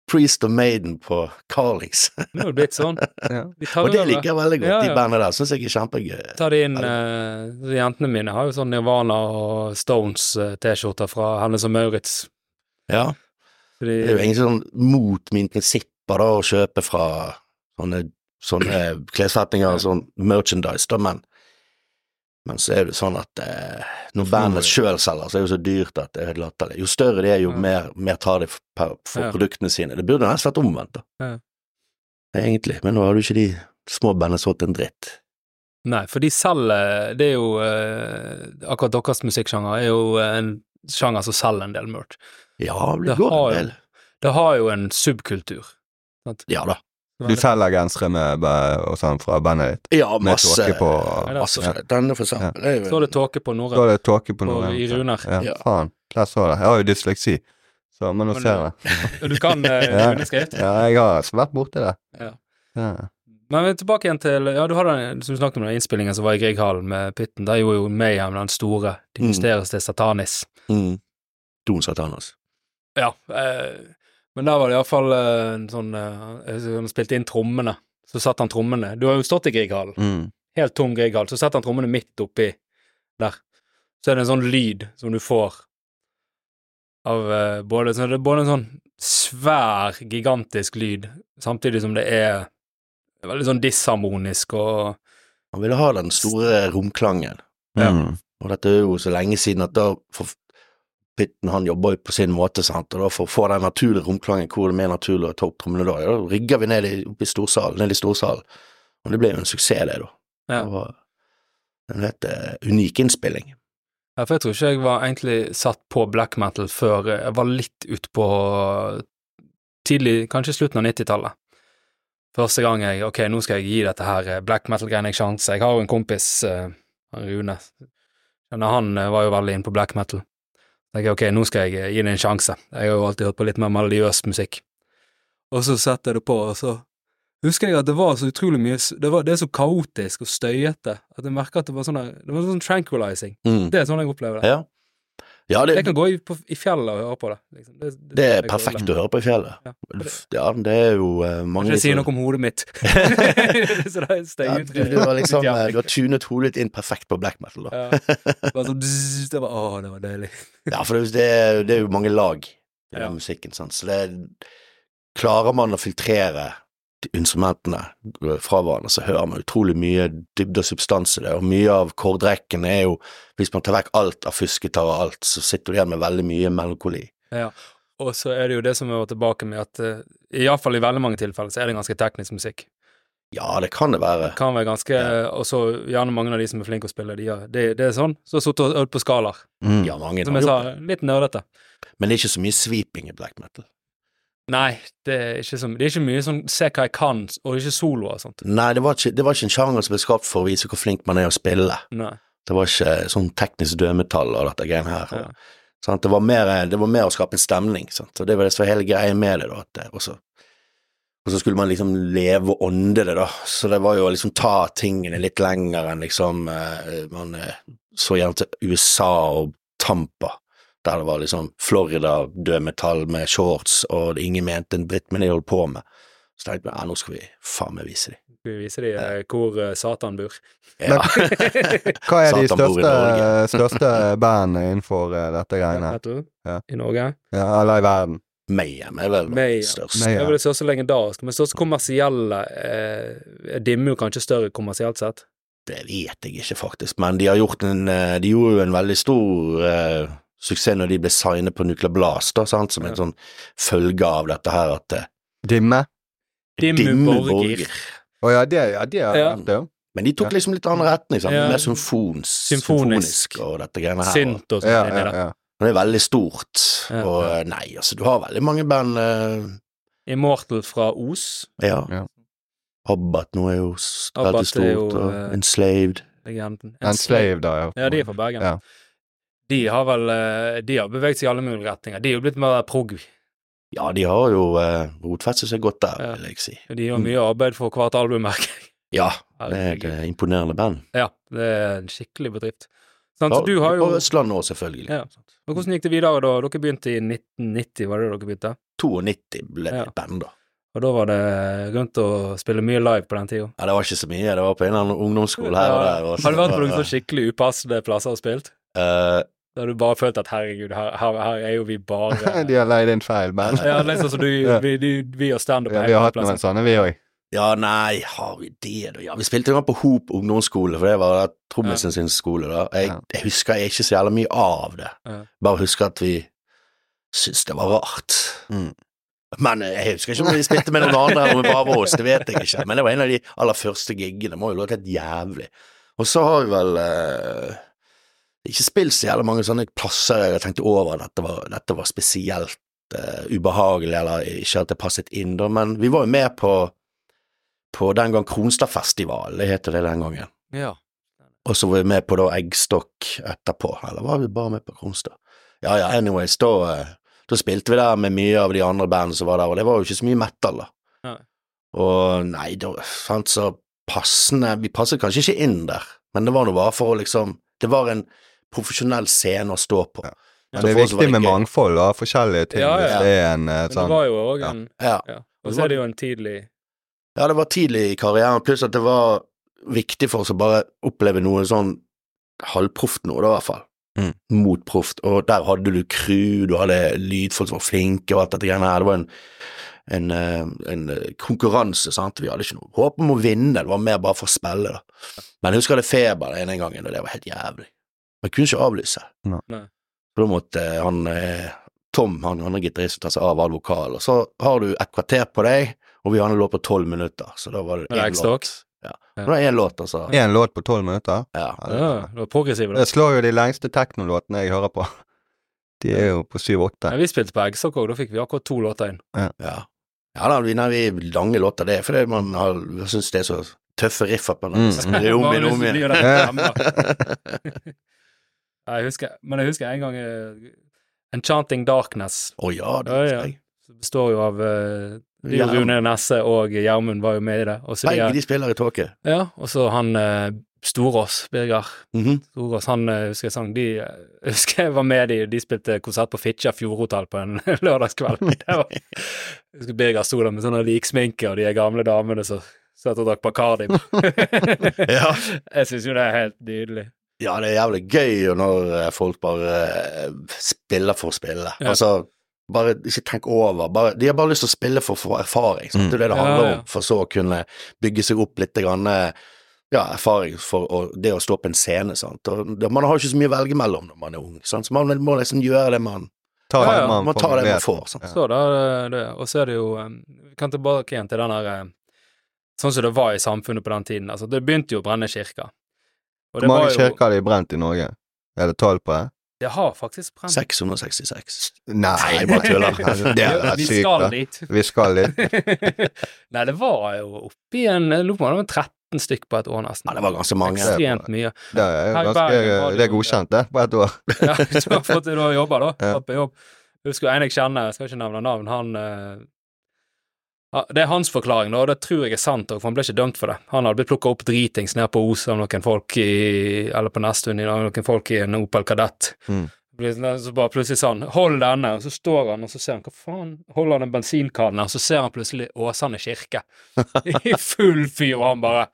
C: Priest og Maiden på Carlings,
A: Det har jo blitt sånn.
B: Ja.
A: Vi tar
C: og det
A: over.
C: liker jeg veldig godt,
A: Ja, ja.
C: de bandene der, synes jeg er kjempegøy.
A: ta det inn eh, Jentene mine har jo sånn Nirvana og Stones-T-skjorter fra Hennes og Maurits.
C: Ja.
A: Så de-
C: Det er jo egentlig sånn mot mine prinsipper da, å kjøpe fra sånne, sånne klessetninger, sånn merchandise, da, men men så er det sånn at eh, når bandet sjøl selger, så er det jo så dyrt at det er helt latterlig. Jo større det er, jo
A: Ja.
C: mer, mer tar de for, per- for
A: Ja.
C: produktene sine. Det burde nesten vært omvendt, da.
A: Ja.
C: Egentlig. Men nå har du ikke de små bandene solgt en dritt.
A: Nei, for de selger Det er jo eh, Akkurat deres musikksjanger er jo eh, en sjanger som selger en del merch.
C: Ja,
A: Det
C: det går
A: har
C: en
A: jo-
C: del.
A: Det har jo en subkultur.
C: Ja da.
B: Du selger gensere med, ba- og sånn fra bandet ditt?
C: Ja,
B: Med
C: masse.
B: tåke på
A: Nei,
C: masse
B: Ja.
C: Denne, for eksempel. er jo-
A: Så er det tåke på
B: Så
A: Norrøn.
B: er det tåke
A: På-
B: på noen.
A: i runer.
B: Ja,
C: Ja.
B: faen. Der så det. Jeg har jo dysleksi. Så, men nå
A: Men-
B: ser jeg.
A: Du kan eh,
B: Ja.
A: underskrift.
B: Ja, jeg har altså vært borti det.
A: Ja.
B: Ja.
A: Men tilbake igjen til Ja, du hadde den, som du snakket om den innspillingen som var i Grieghallen med Pytten. Der gjorde jo Mayhem den store. De
C: Mm.
A: justeres til Satanis.
C: Mm. Don Satanas.
A: Ja. Eh, men der var det iallfall eh, en sånn eh, Han spilte inn trommene. Så satt han trommene Du har jo stått i Grieghallen.
B: Mm.
A: Helt tom Grieghall. Så setter han trommene midt oppi der. Så er det en sånn lyd som du får av eh, både så Det er både en sånn svær, gigantisk lyd, samtidig som det er veldig sånn disharmonisk og
C: Han ville ha den store romklangen.
A: Ja.
B: Mm.
C: Og dette er jo så lenge siden at da for, Pitten han jobber jo på sin måte, sant? og da for å få den naturlige romklangen hvor det er mer naturlig å ta opp trommene da, ja, da rygger vi ned i, opp i storsalen, ned i storsalen. Og det ble jo en suksess, det, da.
A: Ja.
C: Det var en helt eh, unik innspilling.
A: Ja, for jeg tror ikke jeg var egentlig satt på black metal før jeg var litt utpå tidlig, kanskje slutten av 90-tallet. Første gang jeg Ok, nå skal jeg gi dette her eh, black metal-greiene en sjanse. Jeg har jo en kompis, eh, han Rune, men han eh, var jo veldig inne på black metal. Så tenkte jeg ok, nå skal jeg eh, gi det en sjanse. Jeg har jo alltid hørt på litt mer melodiøs musikk. Og så setter jeg det på, og så husker jeg at det var så utrolig mye s- Det, var, det er så kaotisk og støyete at jeg merker at det var sånn der- Det var sånn tranquilizing. Det er sånn jeg opplever det.
C: Mm. Ja. ja, det,
A: Jeg kan gå i, på, i fjellet og høre på det. Liksom. Det, det-
C: det er
A: jeg
C: perfekt
A: går
C: å høre på i fjellet.
A: Ja.
C: Ja, men det er jo eh,
A: over
C: mange
A: det. Det sier noe om hodet mitt. så det steg
C: ja,
A: ut.
C: du, du, var liksom, eh,
A: Ja.
C: du har tunet hodet ditt inn perfekt på black metal, da.
A: Ja. Bare sånn bzzz, det var, Å, det var deilig.
C: Ja, for det, er- det er jo mange lag i
A: Ja.
C: den musikken, sant? så det klarer man å filtrere de instrumentene eh, fra hverandre, så hører man utrolig mye dybde og substans i det, og mye av kordrekken er jo, hvis man tar vekk alt av fusketar og alt, så sitter du igjen med veldig mye melankoli.
A: Og så er det jo det som er tilbake med at eh, i alle fall i veldig mange tilfeller så er det ganske teknisk musikk.
C: Ja, det kan det være.
A: Kan være ganske eh, Og så gjerne mange av de som er flinke å spille, de har, det, det er sånn. Så har jeg sittet og øvd på skalaer.
B: Mm.
C: Ja, mange
A: Som
C: har
A: jeg sa,
C: gjort det.
A: litt nerdete.
C: Men det er ikke så mye sweeping i black metal.
A: Nei, det er ikke, så, det er ikke mye sånn se hva jeg kan, og ikke soloer og sånt.
C: Nei, det var, ikke, det var ikke en sjanger som ble skapt for å vise hvor flink man er å spille.
A: Nei.
C: Det var ikke sånn teknisk dødmetall og dette greiene her.
A: Ja.
C: Sant? Det, var mer, det var mer å skape en stemning, sant? og det var det som var hele greia med det. da, at det, og, så, og så skulle man liksom leve og ånde det, da. Så det var jo å liksom ta tingene litt lenger enn liksom eh, Man eh, så gjerne til USA og Tampa, der det var liksom Florida, død metall med shorts, og det ingen mente en dritt med det de holdt på med. Så tenkte jeg ja, nå skal vi faen meg vise dem.
A: Skal vi vise dem eh, hvor eh, Satan bor?
C: Ja.
B: Hva er de
C: Satan bor i
B: største,
C: Norge.
B: største bandene innenfor eh, dette greiene?
A: Vet du?
B: Ja.
A: I Norge.
B: Ja, eller i verden?
C: Mayhem er vel
A: Mayhem.
C: størst.
A: Det
B: Nei,
A: er
B: ja.
A: vel det største legendariske, altså. men største kommersielle eh, Dimmer jo kanskje større kommersielt sett.
C: Det vet jeg ikke, faktisk, men de har gjort en eh, De gjorde jo en veldig stor eh, suksess når de ble signet på Nuclear Blast, da, sant, som en
A: Ja.
C: sånn følge av dette her at eh,
B: Dimme?
A: Dimmu
C: Dimmu
A: Borgir.
B: Å ja, det, ja, det har jeg
A: Ja.
B: hørt, det jo.
C: Men de tok liksom litt annen retning, sant?
A: Ja.
C: mer symfons,
A: Symfonisk.
C: symfonisk og dette greiene her.
A: Sint og sånn
B: Ja,
A: inni
B: ja,
A: der.
B: ja.
C: Og det er veldig stort,
A: Ja.
C: og eh, nei, altså, du har veldig mange band eh,
A: Immortal fra Os,
C: ja.
B: Ja.
C: Abbat nå er jo s-
A: Abbat
C: veldig
A: er
C: stort,
A: jo,
C: og
A: eh,
C: Enslaved
A: legenden.
B: Enslaved, da. jeg hørt
A: Ja, de er
B: på.
A: fra Bergen.
B: Ja.
A: De har vel eh, De har beveget seg i alle mulige retninger. De er jo blitt mer prog.
C: Ja, de har jo eh, rotfestet seg godt der,
A: Ja.
C: vil jeg si.
A: De gjør mye arbeid for hvert album, merker jeg.
C: Ja, det er et
A: Herregud.
C: eh, imponerende band.
A: Ja, det er en skikkelig bedrift. Sant,
C: Ja,
A: så Altså, du har jo
C: Og Østlandet òg, selvfølgelig.
A: Ja. Men Liksom, hvordan gikk det videre da? Dere begynte i 1990, var det dere begynte?
C: 92 ble det
A: Ja.
C: et band, da.
A: Og da var det rundt å spille mye live på den tida.
C: Ja, det var ikke så mye, det var på en eller annen ungdomsskole her og
A: Ja.
C: der. og så-
A: Har du vært på noen sånn skikkelig upassende plasser og spilt?
C: Eh,
A: Der du bare følt at herregud, her, her, her er jo vi bare
B: de har leid inn feil band.
A: Ja, liksom som du,
B: Ja.
A: vi, de, vi og standup
B: Ja,
A: er
B: vi har
A: hele
B: hatt noen
A: plassen.
B: sånne, vi òg.
C: ja, nei, har vi det, da? Ja, vi spilte en gang på Hop ungdomsskole, for det var da trommisen sin skole, da. Jeg,
B: Ja.
C: jeg husker jeg ikke så jævla mye av det.
A: Ja.
C: Bare husker at vi syntes det var rart.
B: Mm.
C: Men eh, jeg husker ikke om vi spilte med noen andre eller om det bare var oss, det vet jeg ikke. Men det var en av de aller første giggene, må jo låte helt jævlig. Og så har vi vel eh, ikke spilt så jævlig mange sånne plasser jeg har tenkt over at dette var, dette var spesielt eh, ubehagelig, eller ikke at det passet inn, da. Men vi var jo med på, på den gang Kronstadfestivalen, det heter det den gangen.
A: Ja.
C: Og så var vi med på da Eggstokk etterpå, eller var vi bare med på Kronstad? Ja ja, anyways, da, eh, Da spilte vi der med mye av de andre bandene som var der, og det var jo ikke så mye metal, da.
A: Nei.
C: Og nei, da fant så passende Vi passet kanskje ikke inn der, men det var nå bare for å liksom Det var en profesjonell scene å stå på.
B: Men
C: Så
B: det er
C: for oss var
B: viktig med
C: gøy.
B: mangfold og forskjellige ting.
A: Ja, ja.
B: Hvis det er en eh,
A: Men det
B: sånn
A: var jo òg
B: ja.
A: en
C: Ja.
A: ja. Og så er det jo en tidlig
C: Ja, det var tidlig i karrieren, pluss at det var viktig for oss å bare oppleve noe sånn halvproft nå, da, i hvert fall.
B: Mm.
C: Mot proft. Og der hadde du crew, du hadde lydfolk som var flinke, og alt dette greiene her. Det var en, en, eh, en eh, konkurranse, sant. Vi hadde ikke noe håp om å vinne, det var mer bare for å spille, da. Men jeg husker jeg hadde feber den ene gangen, og det var helt jævlig. Men jeg kunne ikke avlyse.
B: Nei.
A: Nei.
C: Så da måtte eh, han eh, Tom, han andre gitaristen, ta seg av all vokal, og så har du et kvarter på deg. Og vi hadde låt på tolv minutter, så da var det
A: Med
C: én
A: Like
C: låt.
A: Stocks?
C: Ja.
A: Ja.
C: Det var én låt, altså.
B: én låt på tolv minutter.
C: Ja.
B: Ja, det-
A: Ja, det var progressiv, da.
B: Det slår jo de lengste teknolåtene jeg hører på. De er jo på
A: Men
B: 7-8.
A: vi spilte på Eggstock òg, da fikk vi akkurat to låter inn.
C: ja. ja da, vi, nei, vi lange låter, det er fordi man har- syns det er så tøffe riff at man
B: Mm, mm.
C: sprer om igjen og om igjen.
A: Ja, jeg husker, men jeg husker en gang eh, Enchanting Darkness.
C: Å ja, det
A: Ja,
C: husker
A: ja.
C: jeg.
A: som består jo av eh, det er jo
C: Ja.
A: Rune Nesse og Gjermund var jo med i det. Og så de,
C: Begge
A: er-
C: de spiller i tåke.
A: ja, og så han eh, Storås, Birger
C: Mhm.
A: Storås, han eh, husker jeg sang De eh, husker jeg var med i De spilte konsert på Fitjar Fjordhotell på en lørdagskveld. Det var, jeg husker Birger sto der med sånn liksminke og de gamle damene som satt og drakk Bacardi.
C: Ja.
A: Jeg syns jo det er helt nydelig.
C: ja, det er jævlig gøy når eh, folk bare eh, spiller for å spille.
A: Ja.
C: Altså, bare ikke tenk over. Bare, de har bare lyst til å spille for å få erfaring. sant? Det er det det
A: Ja,
C: handler
A: ja.
C: om, for så å kunne bygge seg opp litt grann, eh, ja, erfaring for å, det å stå på en scene. Sant? Og, det- man har jo ikke så mye å velge mellom når man er ung, sant? så man må liksom gjøre det man
B: Ta
A: Ja,
B: det
A: ja,
C: man tar det man
B: mulighet.
C: får, sånn. sant?
A: Så da, eh, det, og så er det jo eh, Vi kan tilbake igjen til den der eh, Sånn som det var i samfunnet på den tiden. Altså, det begynte jo å brenne kirker. Og
B: Hvor mange kirker har de brent i Norge? Er det tolv på det?
A: Det har faktisk brent.
C: 666.
B: Nei,
C: jeg bare tuller.
B: Det
A: Ja,
B: er da
A: Vi
B: sykt,
A: skal
B: da.
A: dit.
B: Vi skal litt.
A: Nei, det var jo oppi en Jeg lurer på om det var 13 stykk på et år, nesten.
C: Ja, det var ganske mange.
B: Exakt.
A: Ekstremt mye.
B: Det er,
A: Her i
B: jo
A: Bergen var
B: ganske,
A: det
B: det er
A: jo-
B: godkjent, det, på ett år.
A: Ja, du har fått du har jobba, da.
B: Ja.
A: Tatt på jobb. Jeg Husker en jeg kjenner, jeg skal ikke nevne navn, han eh, ja, Det er hans forklaring, da, og det tror jeg er sant, også, for han ble ikke dømt for det. Han hadde blitt plukka opp dritings nede på Os av noen folk i Eller på Nesttun, av noen folk i en Opel Kadett. sånn,
B: Mm.
A: Så bare plutselig sa han 'hold denne', og så står han, og så ser han hva faen Holder han en bensinkanne, og så ser han plutselig Åsane kirke i full fyr, og han bare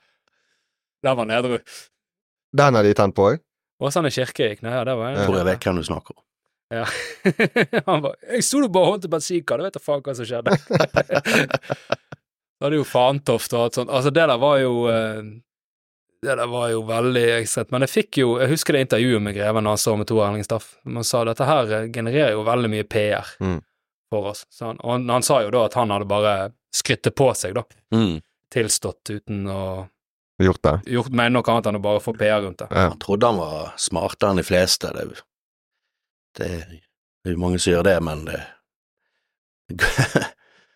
A: Der var nedru.
B: Den har de tent på òg.
A: Åsane kirke gikk ned, ja, det var en
B: Ja.
C: Tror jeg vet hvem du snakker om.
A: Ja. han bare 'Jeg sto jo bare og holdt i bensinkar, vet da faen hva som skjedde'. da hadde jo Fantoft og alt sånt. Altså, det der var jo eh, Det der var jo veldig ekstremt. Men jeg fikk jo Jeg husker det intervjuet med Greven da han står med Tor Erling Staff. Man sa dette her eh, genererer jo veldig mye PR
B: Mm.
A: for oss. Så han, og han, han sa jo da at han hadde bare skryttet på seg, da.
C: Mm.
A: Tilstått uten å
B: Gjort det.
A: gjort meg noe annet enn å bare få PR rundt det.
C: Han trodde han var smartere enn de fleste. Det, er jo- det, det er jo mange som gjør det, men det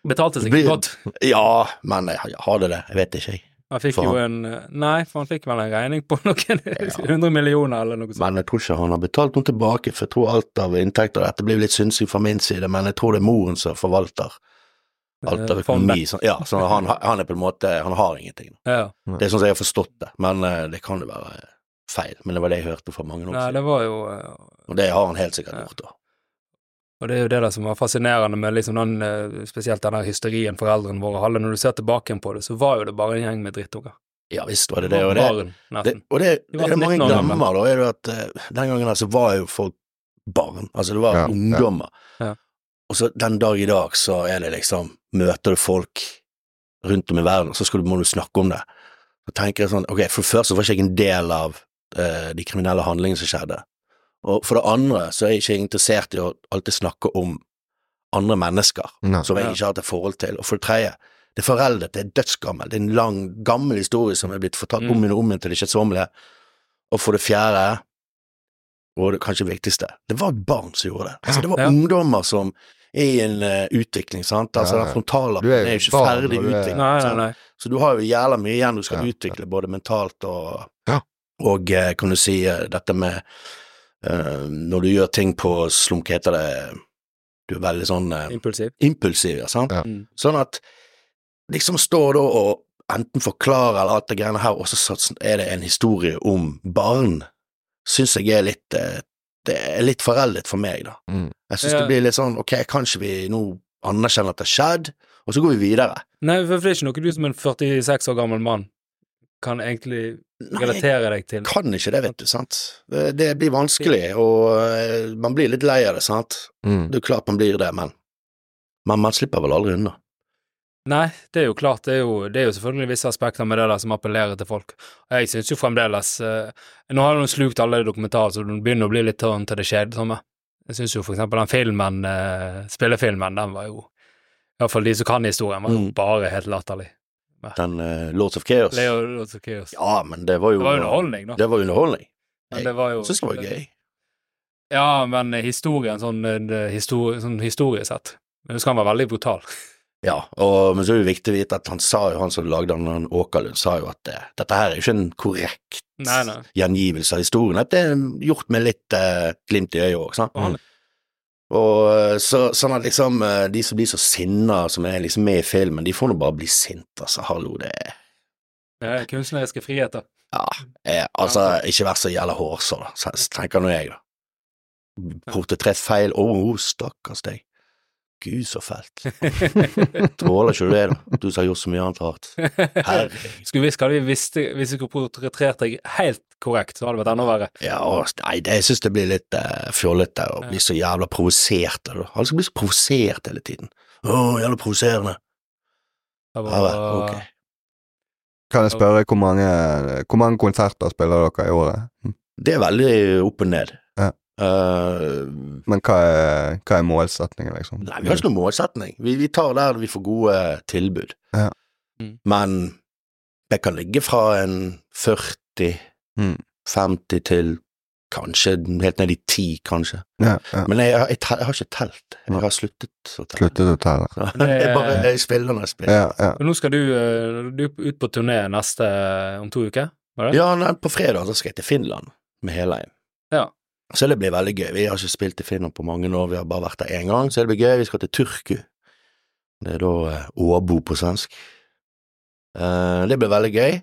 A: Betalte seg
C: Det blir-
A: godt.
C: Ja, men jeg har det det? Jeg vet ikke, jeg.
A: Han fikk
C: For
A: jo en eh, Nei, for han fikk vel en regning på noen hundre millioner eller noe sånt.
C: Men jeg tror ikke han har betalt noe tilbake, for jeg tror alt av inntekter Dette blir jo litt synsing fra min side, men jeg tror det er moren som forvalter alt av
A: Eh, fondet.
C: økonomi. Sånn, ja, så han, han er på en måte Han har ingenting.
A: Ja.
C: Det er sånn som jeg har forstått det, men eh, det kan jo være feil. Men det var det jeg hørte fra mange år
A: Nei, det var jo eh,
C: Og det har han helt sikkert
A: Ja.
C: gjort, da.
A: Og det er jo det der som var fascinerende med liksom den, eh, spesielt den der hysterien foreldrene våre hadde. Når du ser tilbake på det, så var jo det bare en gjeng med drittunger.
C: Ja visst var det det. Og det,
A: Barn,
C: det,
A: nesten.
C: og det,
A: De
C: det,
A: var
C: det mange
A: 19 år gamle.
C: glemmer, da, er jo at eh, den gangen altså var jo folk barn. Altså det var
B: Ja, ja.
C: ungdommer.
A: Ja.
C: Og så den dag i dag så er det liksom Møter du folk rundt om i verden, og så skal du, må du snakke om det. Så tenker jeg sånn Ok, for det første var ikke jeg en del av eh, de kriminelle handlingene som skjedde. Og for det andre så er jeg ikke interessert i å alltid snakke om andre mennesker
B: Nei.
C: som jeg
A: Ja.
C: ikke har hatt et forhold til. Og for det tredje, det er foreldet, det er dødsgammelt, det er en lang, gammel historie som er blitt fortalt
A: Mm.
C: om igjen og om igjen til det kjedsommelige. Og for det fjerde, og det kanskje viktigste, det var barn som gjorde det. Altså, det var
A: Ja.
C: ungdommer som er i en eh, utvikling, sant. Altså,
B: Ja, ja.
C: den frontalappen
B: Du er
C: er,
B: jo
C: jo ikke
B: barn
C: ferdig
B: når du er-
C: utviklet.
A: Nei, nei,
C: sant?
A: nei.
C: Så du har jo jævla mye igjen du skal
B: Ja.
C: utvikle, både mentalt og
B: Ja.
C: Og eh, kan du si eh, dette med eh, Når du gjør ting på slumk, heter det Du er veldig sånn eh,
A: Impulsiv.
C: impulsiv, ja, sant?
B: Ja.
A: Mm.
C: Sånn at liksom står da og enten forklarer eller alt det greiene her, og så sats- er det en historie om barn, syns jeg er litt eh, Det er litt foreldet for meg, da.
B: Mm.
C: Jeg syns
A: Ja.
C: det blir litt sånn ok, kanskje vi nå anerkjenner at det har skjedd, og så går vi videre.
A: Nei, for det er ikke noe du som en 46 år gammel mann kan egentlig
C: Nei,
A: relatere deg til.
C: kan ikke det, vet du, sant. Det, det blir vanskelig, og eh, man blir litt lei av det, sant.
B: Mm.
C: Det er klart man blir det, men Men man slipper vel aldri unna.
A: Nei, det er jo klart, det er jo, det er jo selvfølgelig visse aspekter med det der som appellerer til folk. Og Jeg synes jo fremdeles eh, Nå har hun slukt alle dokumentarer, så det begynner å bli litt turn til det kjedelige. sånn, Jeg synes jo for eksempel den filmen, eh, spillefilmen, den var jo Iallfall de som kan historien, var jo
C: Mm.
A: bare helt latterlig.
C: Den eh, Lords of Chaos.
A: Leo Lotsokios.
C: Ja, men det var jo
A: Det var jo underholdning, da.
C: Det var underholdning.
A: Men det var jo
C: Jeg syns det var gøy.
A: Ja, men historien, sånn, eh, histori sånn historiesett Men så kan den være veldig brutal.
C: Ja, og, men så er det jo viktig å vite at han sa jo, han som lagde den, han Åkerlund, sa jo at eh, dette her er jo ikke en korrekt
A: Nei, nei.
C: gjengivelse av historien. At det er gjort med litt eh, glimt i øyet òg, sant.
A: Og han-
C: Og eh, så, sånn at liksom eh, de som blir så sinna, som er liksom med i filmen, de får nå bare bli sinte, altså. Hallo, det er
A: eh, Kunstneriske friheter.
C: eh, Altså, ikke vær så jævla hårsår, da, så- tenker nå jeg, da. Portrettrett feil, å, oh, stakkars deg. Gud, så fælt. Tåler ikke du det, da? Du som har gjort så mye annet rart. Herregud.
A: Skulle visst hadde vi visst Hvis jeg kunne portrettert deg helt korrekt, så hadde det vært enda verre.
C: Ja, og- nei, det, jeg synes det blir litt eh, fjollete å bli så jævla provosert. da. Han skal bli liksom så provosert hele tiden. Å, jævla provoserende.
A: Det
C: Ja,
A: var-
C: vel, ok.
B: Kan jeg spørre hvor mange, hvor mange konserter spiller dere i året?
C: Det er veldig opp og ned.
B: Ja.
C: Eh,
B: Men hva er, hva er målsettingen, liksom?
C: nei, vi har ikke noen målsetning. Vi, vi tar der vi får gode tilbud.
B: Ja.
A: Mm.
C: Men det kan ligge fra en 40,
B: Mm.
C: 50 til kanskje helt ned i 10, kanskje.
B: Ja, ja.
C: Men jeg, jeg, tel- jeg har ikke telt.
B: Nei.
C: Jeg har sluttet å telle.
B: Sluttet å telle.
C: Jeg bare jeg spiller når jeg spiller.
B: Ja, ja.
A: Men nå skal du, eh, du er ut på turné neste om to uker. var det?
C: Ja, nei, på fredag så skal jeg til Finland med Helheim.
A: Ja.
C: Så det blir veldig gøy. Vi har ikke spilt i Finland på mange år, vi har bare vært der én gang, så det blir gøy. Vi skal til Turku. Det er da eh, Åbo på svensk. Eh, det blir veldig gøy.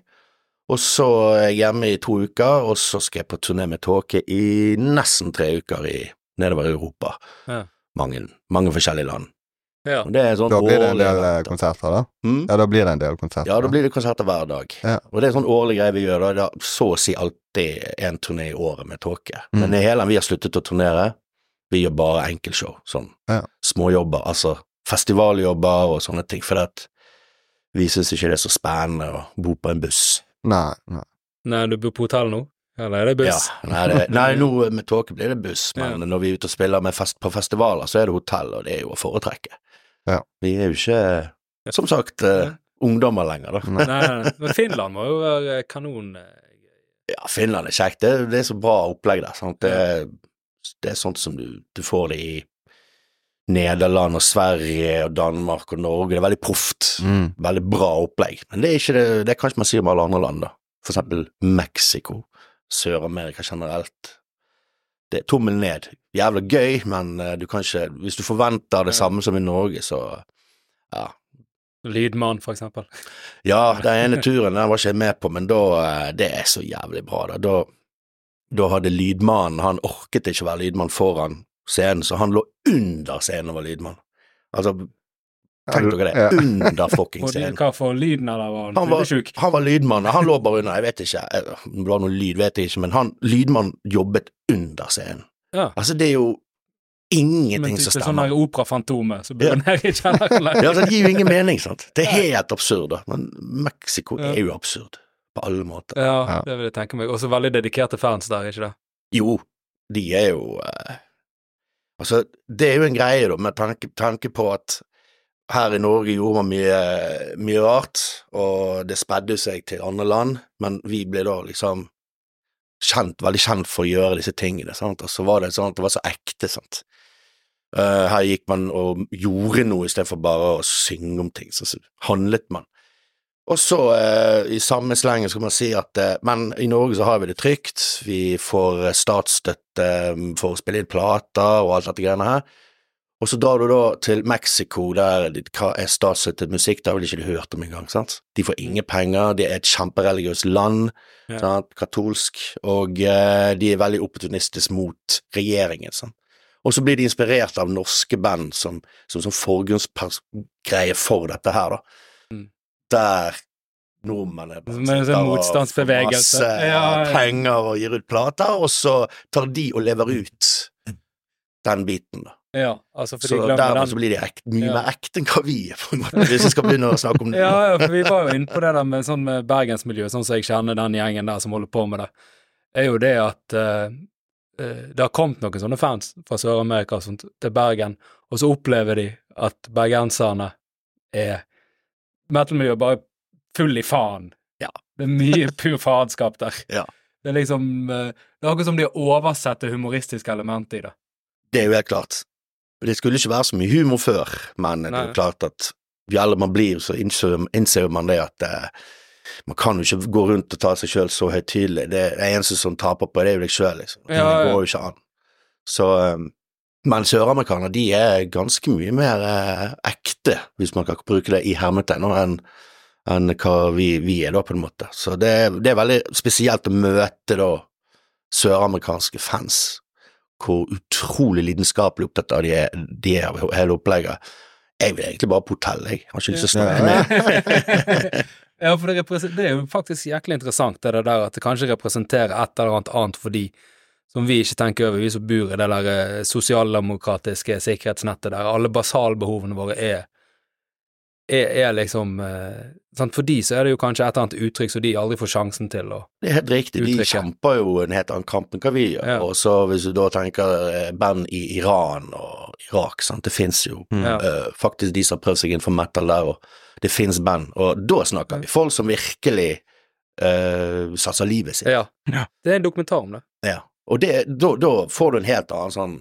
C: Og så er jeg hjemme i to uker, og så skal jeg på turné med Tåke i nesten tre uker i nedover i Europa.
A: Ja.
C: Mange, mange forskjellige land.
A: Ja.
C: Og det er sånn
B: Da blir det en
C: årlig
B: del eh,
C: event, da.
B: konserter, da?
C: Mm?
B: Ja, da blir det en del konserter.
C: Ja, da blir det konserter hver dag.
B: Ja.
C: Og det er en sånn årlig greie vi gjør, da. Det er så å si alltid en turné i året med tåke.
B: Mm.
C: Men i Helan, vi har sluttet å turnere. Vi gjør bare enkeltshow, sånn
B: Ja.
C: småjobber, altså festivaljobber og sånne ting, for at vi syns ikke det er så spennende å bo på en buss.
B: Nei, nei.
A: Nei, du bor på hotell nå? Eller er det buss?
C: Ja, nei, det, nei, nå med tåke blir det buss, men når vi er ute og spiller med fest, på festivaler, så er det hotell, og det er jo å foretrekke.
B: Ja.
C: Vi er jo ikke, som sagt, eh, ungdommer lenger, da.
A: Nei, nei, nei. Men Finland må jo være kanon. eh,
C: Ja, Finland er kjekt. Det, er- det er så bra opplegg der. Sant? Det, er- det er sånt som du, du får det i Nederland og Sverige og Danmark og Norge. Det er veldig proft.
B: Mm.
C: Veldig bra opplegg. Men det er ikke det, det kan ikke man si om alle andre land, da. For eksempel Mexico. Sør-Amerika generelt. Det er tommel ned. Jævla gøy, men eh, du kan ikke Hvis du forventer det samme som i Norge, så Ja.
A: Lydmann, for eksempel.
C: Ja, den ene turen den var ikke jeg med på, men da eh, Det er så jævlig bra, da. Da, da hadde lydmannen Han orket ikke å være lydmann foran scenen, så han lå under scenen og var lydmann. Altså, tenk dere det.
B: Ja.
C: Under fucking
A: Og de,
C: scenen.
A: hva for lyden av det var han?
C: Han var-
A: Fyllesyk?
C: Han var lydmann, han lå bare under, jeg vet ikke, eh, om det var noe lyd, vet jeg ikke, men han, lydmannen jobbet under scenen.
A: Ja.
C: Altså, det er jo
A: Men
C: ingenting
A: typ
C: som
A: sånn
C: stemmer.
A: der Operafantomet som bor
C: Ja.
A: nede i kjelleren.
C: Ja, altså, det gir jo ingen mening, sant. Det er helt absurd, da. Men Mexico
A: Ja.
C: er jo absurd, på alle måter.
A: Ja,
B: Ja.
A: det vil jeg tenke meg. Også veldig dedikerte fans der, ikke det?
C: Jo, de er jo eh, Altså, det er jo en greie, da, med tanke, tanke på at her i Norge gjorde man mye, mye rart, og det spredde seg til andre land, men vi ble da liksom kjent, veldig kjent for å gjøre disse tingene, sant, og så var det sånn at det var så ekte, sant. Eh, her gikk man og gjorde noe istedenfor bare å synge om ting, så så handlet man. Og så, eh, i samme slengen, skal man si at eh, Men i Norge så har vi det trygt, mm, vi får eh, statsstøtte eh, for å spille inn plater og alt dette greiene her. Og så drar du da til Mexico, der de- hva er statsstøttet musikk, det har vel ikke de hørt om engang, sant? De får ingen penger, det er et kjempereligiøst land,
A: Mm. Ja.
C: sant? katolsk, og eh, de er veldig opportunistisk mot regjeringen, sant? Og så blir de inspirert av norske band som, som, som forgrunnsgreie for dette her, da.
A: Mm.
C: Der nordmennene
A: Som en sånn motstandsbevegelse.
C: får masse
A: Ja, ja.
C: penger og gir ut plater, og så tar de og lever ut
A: Mm.
C: den biten, da.
A: Ja, altså for de
C: Så
A: glemmer
C: dermed så
A: den.
C: blir de ek, mye
A: Ja.
C: mer ekte enn hva vi er, på en måte, hvis vi skal begynne å snakke om det.
A: Ja, ja, for vi var jo inne på det der med sånn med bergensmiljøet, sånn som jeg kjenner den gjengen der som holder på med det, er jo det at eh, eh, det har kommet noen sånne fans fra Sør-Amerika og sånt til Bergen, og så opplever de at bergenserne er metal-miljøet bare full i faen.
C: Ja.
A: Det er mye pur faenskap der.
C: Ja.
A: Det er liksom eh, Det er akkurat som de har oversett det humoristiske elementet i det.
C: Det er jo helt klart. Det skulle ikke være så mye humor før, men det er
A: Nei.
C: jo klart at jo eldre man blir, så innser, innser man det at eh, man kan jo ikke gå rundt og ta seg sjøl så høytidelig. Det er det eneste som taper på, det er jo deg sjøl, liksom.
A: Ja, ja.
C: Det går jo ikke an. Så eh, Men søramerikanere, de er ganske mye mer eh, ekte, hvis man kan bruke det i hermetegn, enn enn hva vi, vi er, da, på en måte. Så det, er- det er veldig spesielt å møte da søramerikanske fans, hvor utrolig lidenskapelig opptatt av de er, de er av hele opplegget. Jeg vil egentlig bare på hotell, jeg. Har ikke lyst til å snakke
B: Ja.
C: mer.
A: ja, for det, represen- det er jo faktisk jæklig interessant, det der at det kanskje representerer et eller annet annet for de som vi ikke tenker over, vi som bor i det der eh, sosialdemokratiske sikkerhetsnettet der alle basalbehovene våre er er, er liksom eh, sant? For de så er det jo kanskje et eller annet uttrykk som de aldri får sjansen til å
C: Det er helt riktig, de
A: Uttrykket.
C: kjemper jo en helt annen kamp enn hva vi gjør.
A: Ja.
C: Og så hvis du da tenker eh, band i Iran og Irak, sant, det fins jo
B: Mm.
A: Ja.
C: eh, faktisk de som har prøvd seg innenfor metal der, og det fins band. Og da snakker vi folk som virkelig eh, satser livet sitt.
A: Ja.
B: Ja.
A: Det er en dokumentar om det.
C: Ja. Og det, da, da får du en helt annen sånn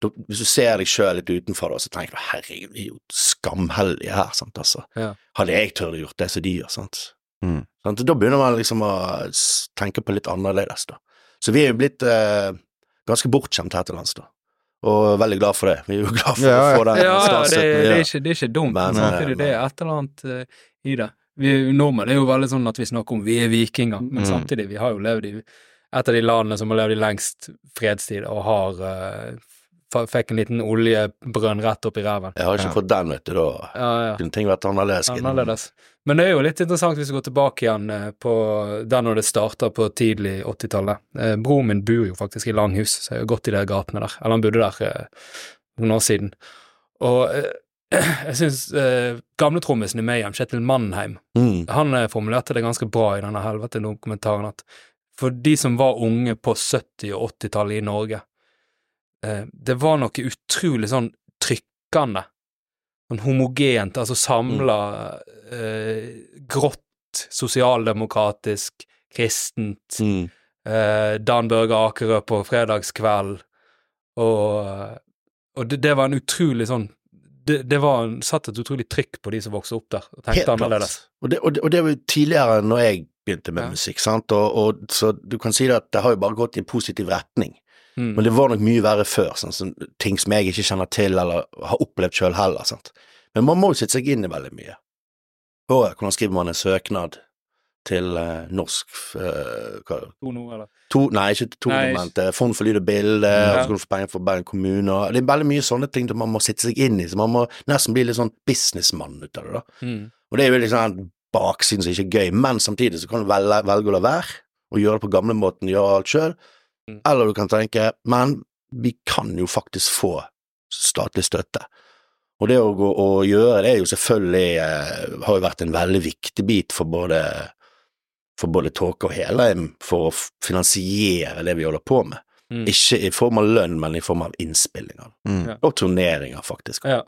C: da, Hvis du ser deg sjøl litt utenfor, da, så tenker du herregud, vi er jo skamheldige her, sant, altså.
A: Ja.
C: Hadde jeg turt å gjort det som de gjør, sant.
B: Mm.
C: sant? Da begynner man liksom å s- tenke på litt annerledes, da. Så vi er jo blitt eh, ganske bortskjemt her til lands, da. Og veldig glad for det. Vi er jo glad for
B: Ja, ja.
C: å få den
A: Ja, det,
C: statsstøtten vi
A: det, er
C: gjør.
A: ikke, det er ikke dumt,
C: Men,
A: men samtidig
C: eh,
A: det er et eller annet eh, i det. Vi er jo nordmenn det er jo veldig sånn at vi snakker om vi er vikinger, men
B: Mm.
A: samtidig, vi har jo levd i et av de landene som har levd i lengst fredstid, og har eh, fa- fikk en liten oljebrønn rett opp i ræven.
C: Jeg har ikke
B: Ja.
C: fått den, vet du, da.
A: Ja, ja.
C: Kunne ting vært annerledes. innen-
A: Annerledes. Men det er jo litt interessant hvis vi går tilbake igjen eh, på der når det starta på tidlig 80-tallet. Eh, Broren min bor jo faktisk i Langhus, så jeg har gått i de gatene der. Eller han bodde der eh, noen år siden. Og eh, jeg syns eh, gamletrommisen i Mayhem, Kjetil Mannheim,
C: Mm.
A: han eh, formulerte det ganske bra i denne helvete dokumentaren at for de som var unge på 70- og 80-tallet i Norge, eh, det var noe utrolig sånn trykkende, sånn homogent, altså samla eh, grått, sosialdemokratisk, kristent,
C: Mm.
A: eh, Dan Børge Akerø på fredagskveld, og, og det, det var en utrolig sånn det, det var en, satt et utrolig trykk på de som vokste opp der, og
C: Helt
A: tenkte
C: klart.
A: annerledes.
C: Og det, og, det, og det var jo tidligere når jeg begynte med
A: Ja.
C: musikk, sant, og, og så du kan si det at det har jo bare gått i en positiv retning.
A: Mm.
C: Men det var nok mye verre før, sånn, som ting som jeg ikke kjenner til eller har opplevd sjøl heller. Sant? Men man må jo sitte seg inn i veldig mye. Og hvordan skriver man en søknad til eh, norsk eh, hva,
A: To nå, eller?
C: to, Nei, ikke to
A: Nei,
C: dokument, eh, Fond for lyd og bilde, og
A: Ja.
C: så kan du få penger for Bergen kommune og Det er veldig mye sånne ting som man må sitte seg inn i. Så man må nesten bli litt sånn businessmann ut av det, da.
A: Mm.
C: Og det er jo liksom den baksiden som ikke er gøy, men samtidig så kan du velge, velge å la være, og gjøre det på gamlemåten, gjøre alt sjøl,
A: Mm.
C: eller du kan tenke, men vi kan jo faktisk få statlig støtte. Og det å, gå, å gjøre det er jo selvfølgelig eh, har jo vært en veldig viktig bit for både for både Tåke og Helheim for å f- finansiere det vi holder på med.
A: Mm.
C: Ikke i form av lønn, men i form av innspillinger.
B: Mm.
A: Ja.
C: Og turneringer, faktisk.
A: Ja.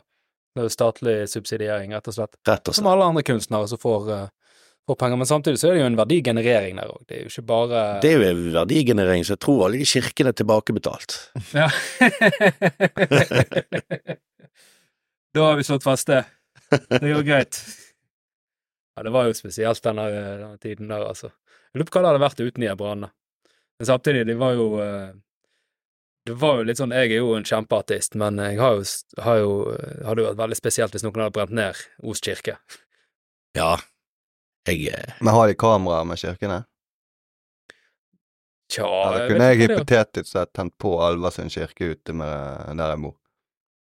A: Det er jo statlig subsidiering, rett og slett.
C: Rett og
A: Som
C: slett.
A: alle andre kunstnere som får, eh, får penger. Men samtidig så er det jo en verdigenerering der òg. Det er jo ikke bare
C: Det er jo en verdigenerering, så jeg tror alle de kirkene er tilbakebetalt.
A: Ja. da har vi slått fast det. Det går greit. Ja, det var jo spesielt denne, denne tiden der, altså. Jeg lurer på hva det hadde vært uten de her brannene. Men samtidig, de var jo eh, Det var jo litt sånn, Jeg er jo en kjempeartist, men jeg har jo, s- har jo, eh, hadde jo vært veldig spesielt hvis noen hadde brent ned Os kirke.
C: Ja. Jeg eh,
B: Men har de kameraer med kirkene?
A: Tja,
B: Eller
A: vet
B: kunne jeg
A: ikke det.
B: hypotetisk sett tent på Alversund kirke ute med der jeg bor?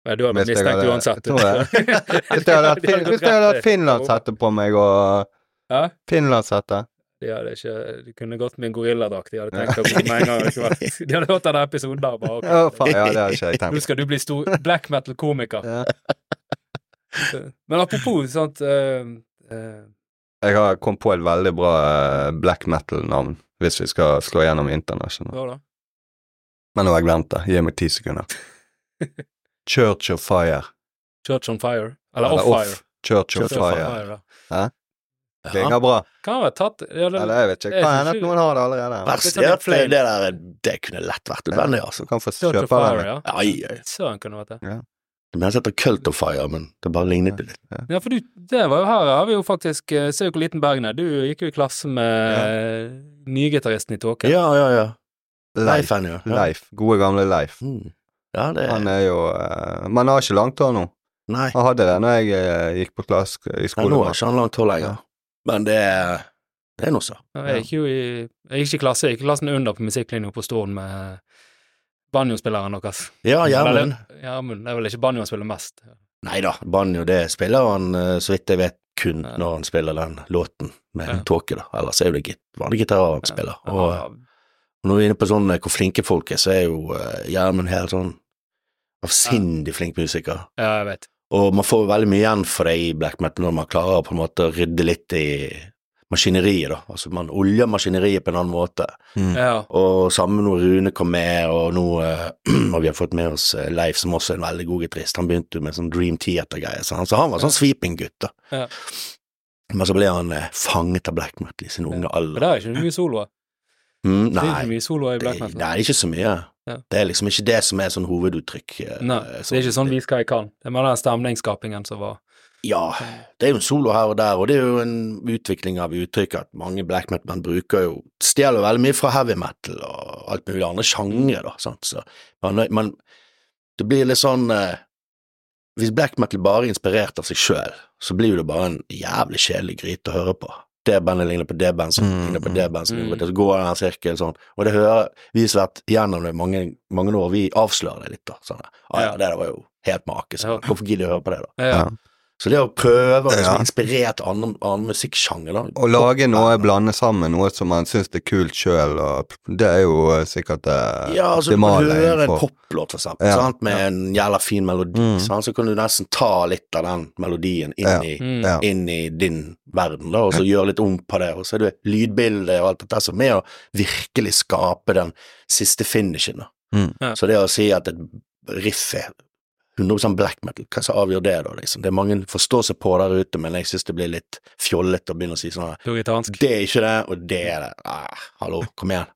A: Nei, Du hadde
B: Hvis
A: blitt
B: jeg
A: mistenkt
B: hadde-
A: uansett.
B: Jeg Hvis jeg hadde hatt fin- hvis jeg hadde hatt finlandshette på meg og
A: Ja,
B: Finlandshette?
A: de hadde ikke, de kunne gått med en gorilladrakt. De hadde tenkt å gå med en gang. likevel. De hadde hørt denne episoden der. bare,
B: Å,
A: ok.
B: faen, ja, det har ikke jeg
A: Nå
B: tenkt
A: skal du bli stor black metal-komiker.
B: på.
A: Men apropos sant eh, eh,
B: Jeg har kom på et veldig bra eh, black metal-navn, hvis vi skal slå gjennom internasjonalt.
A: Hva da?
B: Men nå har jeg glemt det. Gi meg ti sekunder. Church of Fire.
A: Church on fire? Eller
B: Eller
A: off fire?
B: Church of
C: Church of
B: Fire.
A: Fire, ja.
C: ja.
B: Klinger bra.
A: Kan ha vært tatt ja, det,
B: Eller jeg vet ikke.
A: jeg
B: Kan
A: synes
B: hende at
A: ikke-
B: noen har det allerede.
C: Verst
A: sånn
C: er
A: helt
C: at flere-
A: plain.
C: det der eh, Det kunne lett vært nødvendig, altså.
B: Du kan få
A: Church
B: kjøpe
A: on fire,
B: den.
A: ja.
C: Ai, ai.
A: Søren kunne vært det.
C: Det ble sett av Cult of Fire, men det bare lignet litt.
A: Ja, for du, det var jo her har vi jo faktisk eh, Se jo hvor liten Bergen er. Du gikk jo i klasse med eh, nygitaristen i Tåke.
C: Ja, ja, ja. Leif
B: Leif.
C: er jo. Ja.
B: Leif. Gode, gamle Leif.
C: Mm. ja, det
B: Han er jo eh, Men han har ikke langt hår nå.
C: Nei,
B: Han hadde det når jeg eh, gikk på klass i
C: Nei, nå er
B: skolen.
C: ikke han langt hår lenger.
B: Ja.
C: Men det er Det er noe så.
A: Jeg gikk jo i Jeg gikk ikke i klasse, jeg gikk i klassen under på musikklinja på Storen med banjospilleren deres.
C: Ja, Ah, Gjermund.
A: Eller, Gjermund. Det er vel ikke banjo han spiller mest.
C: Nei da, banjo det spiller han eh, så vidt jeg vet kun
A: Ja.
C: når han spiller den låten med
A: Ja.
C: en tåke, da. Ellers er jo det git vanlig gitarer han
A: Ja.
C: spiller.
A: Men
C: Og
A: han-
C: eh, når vi er inne på sånn eh, hvor flinke folk er, så er jo eh, Gjermund helt sånn avsindig flink musiker.
A: Ja, jeg vet.
C: Og man får jo veldig mye igjen for det i black metal når man klarer å på en måte å rydde litt i maskineriet, da. Altså man oljer maskineriet på en annen måte.
B: Mm.
A: Ja.
C: Og sammen når Rune kom med, og nå eh, og vi har fått med oss eh, Leif, som også er en veldig god gitarist. Han begynte jo med sånn Dream Theater-greier, så han, så han var sånn sweeping-gutt, da.
A: Ja.
C: Men så ble han eh, fanget av black metal i sin unge
A: Men
C: alder.
A: det er ikke mye soloer. Det
C: Mm,
A: er
C: nei,
A: ikke mye soloer i
C: det,
A: black
C: nei,
A: metal.
C: det er ikke så mye.
A: Ja.
C: Det er liksom ikke det som er sånn hoveduttrykk. eh,
A: Nei,
C: eh,
A: det er ikke sånn vi skal i kan. Det er med den stemningsskapingen som var
C: Ja, det er jo en solo her og der, og det er jo en utvikling av uttrykk at mange black metal-band bruker jo Stjeler veldig mye fra heavy metal og alt mulig andre sjangre, da, sant, så man, man Det blir litt sånn eh, Hvis black metal bare er inspirert av seg sjøl, så blir jo det bare en jævlig kjedelig gryte å høre på. Det bandet ligner på det bandet som
B: Mm,
C: ligner på
B: mm.
C: det bandet som ligner på
A: Mm.
C: det, så går det en sirkel sånn, og det hører Vi som har vært gjennom det i mange, mange år, vi avslører det litt, da. Sånn, ja, ja,
A: Ja.
C: det der var jo helt make,
A: Ja.
C: så hvorfor gidder jeg å høre på det, da?
A: Ja.
C: Så det å prøve å
B: Ja.
C: liksom, inspirere til annen, annen musikksjanger, da
B: Å lage noe, blande sammen noe som man syns er kult sjøl, det er jo eh, sikkert eh,
C: Ja, altså, du kan
B: optimale
C: høre en
B: innenfor.
C: poplåt, for eksempel,
B: Ja.
C: sant? med en jævla fin melodi,
B: Mm.
C: sant? så kan du nesten ta litt av den melodien inn,
B: Ja.
C: i,
A: Mm.
B: Ja.
C: inn i din verden, da, og så gjøre litt om på det, og så er det lydbildet og alt dette som er med å virkelig skape den siste finishen. Da.
B: Mm.
A: Ja.
C: Så det å si at et riff er 100 black metal, hva som avgjør det, da, liksom? Det er mange forståelser på der ute, men jeg syns det blir litt fjollete å begynne å si sånn her
A: puritansk.
C: Det er ikke det, og det er det. Ah, hallo, kom igjen.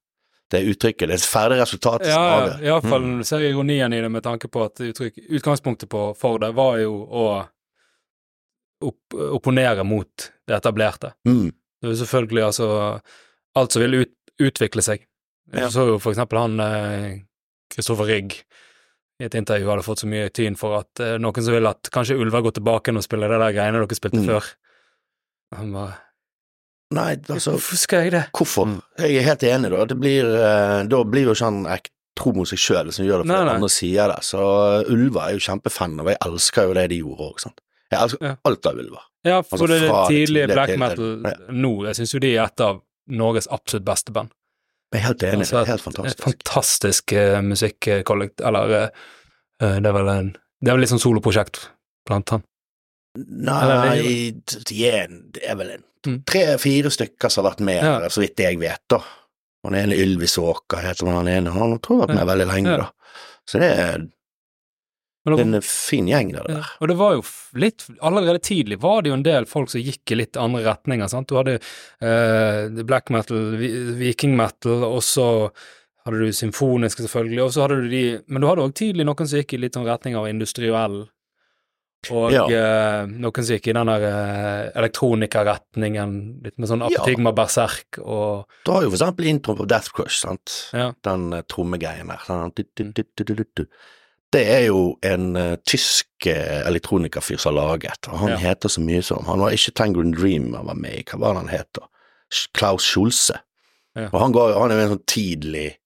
C: Det er uttrykket. Det er ferdig resultat som
A: Ja,
C: avgjør.
A: iallfall når du ser ironien i det, med tanke på at uttrykk, utgangspunktet på, for det var jo å opp, opponere mot det etablerte.
C: Mm.
A: Det var selvfølgelig altså alt som ville ut, utvikle seg.
C: Ja.
A: Du så jo for eksempel han eh, Kristoffer Rigg i et intervju hadde fått så mye tyn for at eh, noen som vil at kanskje ulver går tilbake igjen og spiller det der greiene dere spilte
C: Mm.
A: før. Han bare
C: Nei, altså,
A: Hvorfor skal jeg det?
C: hvorfor? Jeg er helt enig, da. Det blir, eh, da blir jo ikke han ek- tro mot seg sjøl som gjør det,
A: Nei,
C: for
A: nei.
C: andre sier det. Så eh, Ulva er jo kjempefan, og jeg elsker jo det de gjorde òg, sant. Jeg elsker
A: Ja.
C: alt av Ulva.
A: Ja, for
C: Altså,
A: det, er det
C: fra det
A: tidlige
C: tidlige
A: black
C: til-
A: metal
C: Ja.
A: nå, jeg syns jo de er et av Norges absolutt beste band.
C: Jeg er helt enig.
A: Altså,
C: det er helt
A: Et
C: fantastisk.
A: fantastisk eh, musikkollekt, eller eh, eh, det er vel en Det er vel litt sånn soloprosjekt blant han. Eller, det er
C: Nei, de er, en- det er vel en
A: Mm.
C: tre-fire stykker som har vært med,
A: Ja.
C: der, så vidt jeg vet, da. Han ene Ylvis Åker heter han ene, han tror jeg har vært med veldig lenge,
A: Ja.
C: da. Så det er
A: Men
C: det
A: dere-
C: er en fin gjeng, det
A: Ja,
C: der.
A: og det var jo f- litt Allerede tidlig var det jo en del folk som gikk i litt andre retninger, sant. Du hadde eh, black metal, vi- viking metal, og så hadde du symfoniske, selvfølgelig, og så hadde du de Men du hadde òg tidlig noen som gikk i litt sånn retning av industriell Og
C: Ja.
A: eh, noen som gikk i den der eh, elektronikerretningen, litt med sånn apetigma berserk og
C: Du har jo for eksempel introen på Death Crush, sant.
A: Ja.
C: Den eh, trommegreien der. Den, du, du, du, du, du, du, du. Det er jo en eh, tysk eh, elektronikerfyr som har laget, og han
A: Ja.
C: heter så mye som Han var ikke Tangerine Dream han var med i, hva var det han heter? Sch- Klaus Schulze.
A: Ja.
C: Og han, ga, han er jo en sånn tidlig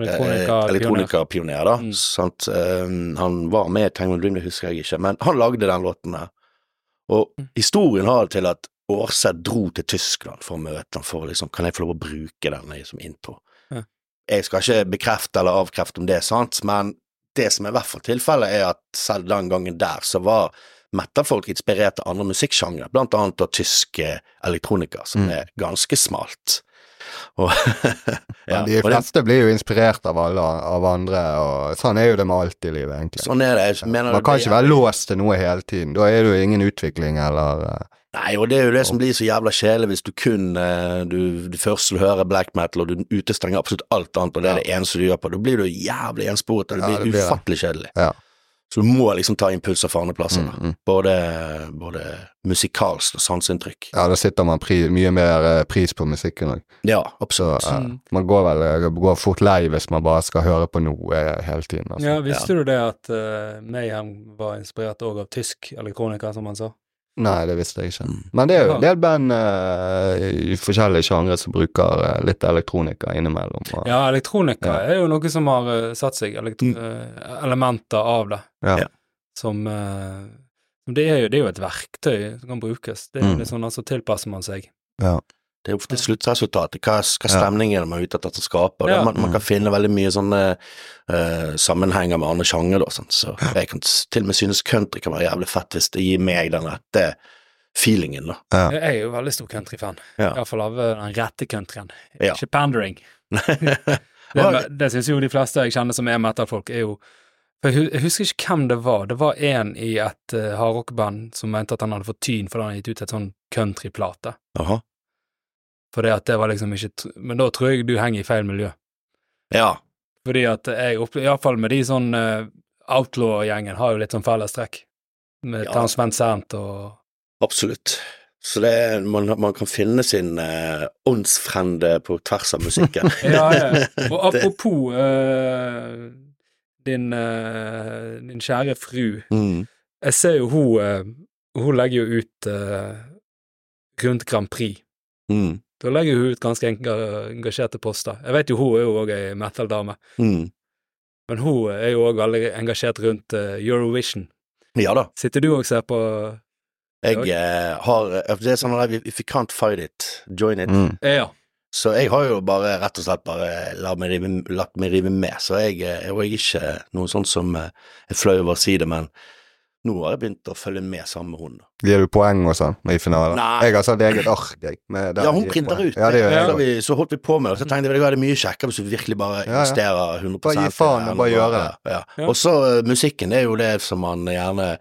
A: elektroniker.
C: Eh, elektronikerpioner, da.
A: Mm.
C: Sant? Eh, han var med i Tango Dream, det husker jeg ikke, men han lagde den låten der. Og
A: Mm.
C: historien har det til at Aarseth dro til Tyskland for å møte ham, for liksom, kan jeg få lov å bruke den i- som intro?
A: Ja.
C: Jeg skal ikke bekrefte eller avkrefte om det er sant, men det som er i hvert fall tilfellet, er at selv den gangen der, så var metalfolk inspirert av andre musikksjangre, blant annet av tyske elektronikere, som
B: Mm.
C: er ganske smalt. Og,
B: Men de
C: og det-
B: fleste blir jo inspirert av alle av andre, og sånn er jo det med alt i livet, egentlig.
C: Sånn er det. Jeg mener
B: Man
C: det
B: kan
C: blir-
B: ikke være låst til noe hele tiden. Da er det jo ingen utvikling eller eh,
C: Nei, og det er jo det som blir så jævla kjedelig hvis du kun eh, du, Det første du hører er black metal, og du utestenger absolutt alt annet, og det er det eneste du gjør på. Da blir du jævlig ensporet, og det
B: Ja,
C: blir
B: det blir det.
C: ufattelig kjedelig.
B: Ja.
C: Så du må liksom ta impulser fra andre plasser. da.
B: mm, mm.
C: Både, både musikalsk og sanseinntrykk.
B: Ja, da sitter man pri mye mer eh, pris på musikken òg.
C: Ja,
B: Så
C: absolutt.
B: eh,
A: Mm.
B: man går vel eh, går fort lei hvis man bare skal høre på noe eh, hele tiden. Altså.
A: Ja, visste du det at eh, Mayhem var inspirert òg av tysk elektroniker, som han sa?
B: Nei, det visste jeg ikke.
C: Mm.
B: Men det er jo
A: Ja.
B: en del band eh, i forskjellige sjangre som bruker eh, litt elektronika innimellom. Og,
A: Ja, elektronika
B: Ja.
A: er jo noe som har eh, satt seg, elekt-
C: Mm.
A: eh, elementer av det,
B: Ja.
C: Ja.
A: som eh, det er, jo, det er jo et verktøy som kan brukes. Det er jo
B: Mm.
A: litt sånn, altså tilpasser man seg.
C: Det er ofte sluttresultatet, hva, hva stemningen man er ute etter å skape. og det-
A: Ja.
C: Man, man kan
B: Mm.
C: finne veldig mye sånne eh, sammenhenger med andre sjanger, da. Sant? Så jeg kan s- til og med synes country kan være jævlig fett hvis det gir meg den rette feelingen, da.
B: Ja.
A: Jeg er jo veldig stor countryfan.
C: Ja.
A: Iallfall av eh, den rette countryen.
C: Ja.
A: Ikke pandering. Det,
C: Ja,
A: det syns jo de fleste jeg kjenner som er metalfolk, er jo for Jeg hu- jeg husker ikke hvem det var. Det var en i et uh, hardrockband som mente at han hadde fått tyn fordi han hadde gitt ut et sånn countryplate.
C: Jaha.
A: For det at det var liksom ikke tr- Men da tror jeg du henger i feil miljø.
C: Ja.
A: Fordi at jeg opplever, iallfall med de sånn eh, outlaw-gjengen, har jo litt sånn fellestrekk. Med
C: Ja.
A: ja. Towns Van Sant og
C: Absolutt. Så det er, man, man kan finne sin eh, åndsfrende på tvers av musikken.
A: Ja, ja. Og
C: Det-
A: apropos eh, din, eh, din kjære fru.
C: Mm.
A: Jeg ser jo hun eh, Hun legger jo ut eh, rundt Grand Prix.
C: Mm.
A: Da legger hun ut ganske enga- engasjerte poster. Jeg vet jo hun er jo òg ei metal-dame,
C: Mm.
A: men hun er jo òg veldig engasjert rundt eh, Eurovision.
C: Ja da.
A: Sitter du og ser på
C: Jeg eh, har Det er sånn at if you can't fight it, join it.
B: Mm.
A: Eh, Ja.
C: Så jeg har jo bare rett og slett bare latt meg rive, latt meg rive med, så jeg, eh, og jeg er ikke noe sånn som eh, er flau over å si det, men nå har jeg begynt å følge med sammen med hun. da.
B: Gir du poeng og sånn i finalen?
C: Nei.
B: Jeg har satt eget ark, jeg. med der
C: Ja,
B: jeg
C: hun
B: gir
C: printer
B: poeng.
C: ut.
B: Ja, det gjør
A: Ja.
B: jeg
C: Så,
B: også.
C: vi, så holdt vi på med det, og så tenkte jeg det er mye kjekkere hvis du virkelig bare
B: ja.
C: investerer 100
B: Bare gi faen og
C: i
B: bare
C: den,
B: gjøre det.
C: Ja.
A: Ja.
C: Og så eh, musikken, det er jo det som man gjerne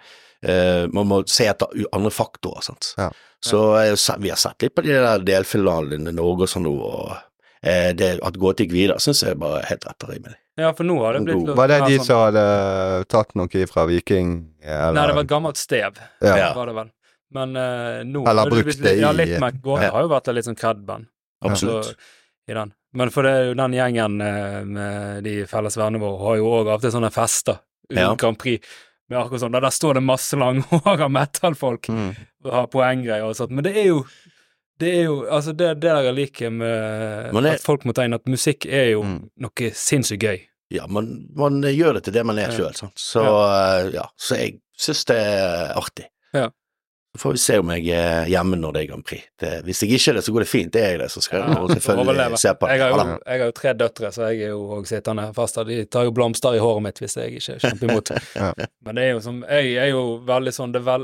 C: eh, Man må se etter u- andre faktorer, sant.
B: Ja.
C: Så eh, se- vi har sett litt på de der delfinalene i Norge og sånn nå, og eh, det at gå til Gvida syns jeg bare er helt etter i meg.
A: ja, for nå har det blitt
C: God.
B: Var det de
A: sånn-
B: som hadde tatt noe fra Viking, eller
A: Nei, det var et gammelt stev,
B: Ja.
C: Ja.
A: var det vel. Men eh, nå
B: Eller
A: nå er
B: brukt
A: blitt-
B: det i-
A: Ja, litt mer gåte.
C: Ja.
A: Har jo vært et litt sånn cred-band. Altså,
C: Absolutt.
A: i den. Men for det er jo den gjengen eh, med de felles vennene våre har jo òg av og til sånne fester under
C: Ja.
A: Grand Prix. Med akkurat sånn, der, der står det masse langhåra metal-folk
B: Mm.
A: og har poenggreier og sånt. Men det er jo det er jo, altså det, det der jeg liker med
C: Men det-
A: at folk må ta inn at musikk er jo
B: Mm.
A: noe sinnssykt gøy.
C: Ja, man, man gjør det til det man er
A: Ja.
C: sjøl, sant. Så eh, ja, så jeg syns det er artig.
A: Ja.
C: Så får vi se om jeg er hjemme når det er Grand Prix. Det, hvis jeg ikke er det, så går det fint. Det er jeg det, så skal jeg
A: Ja,
C: nå
A: overleve.
C: selvfølgelig se på det.
A: Jeg har,
C: Ja,
A: jo,
C: da.
A: jeg har jo tre døtre, så jeg er jo òg sittende fast der. De tar jo blomster i håret mitt hvis jeg ikke kjemper imot.
B: Ja.
A: Men det er jo som Jeg er jo veldig sånn Det, er vel,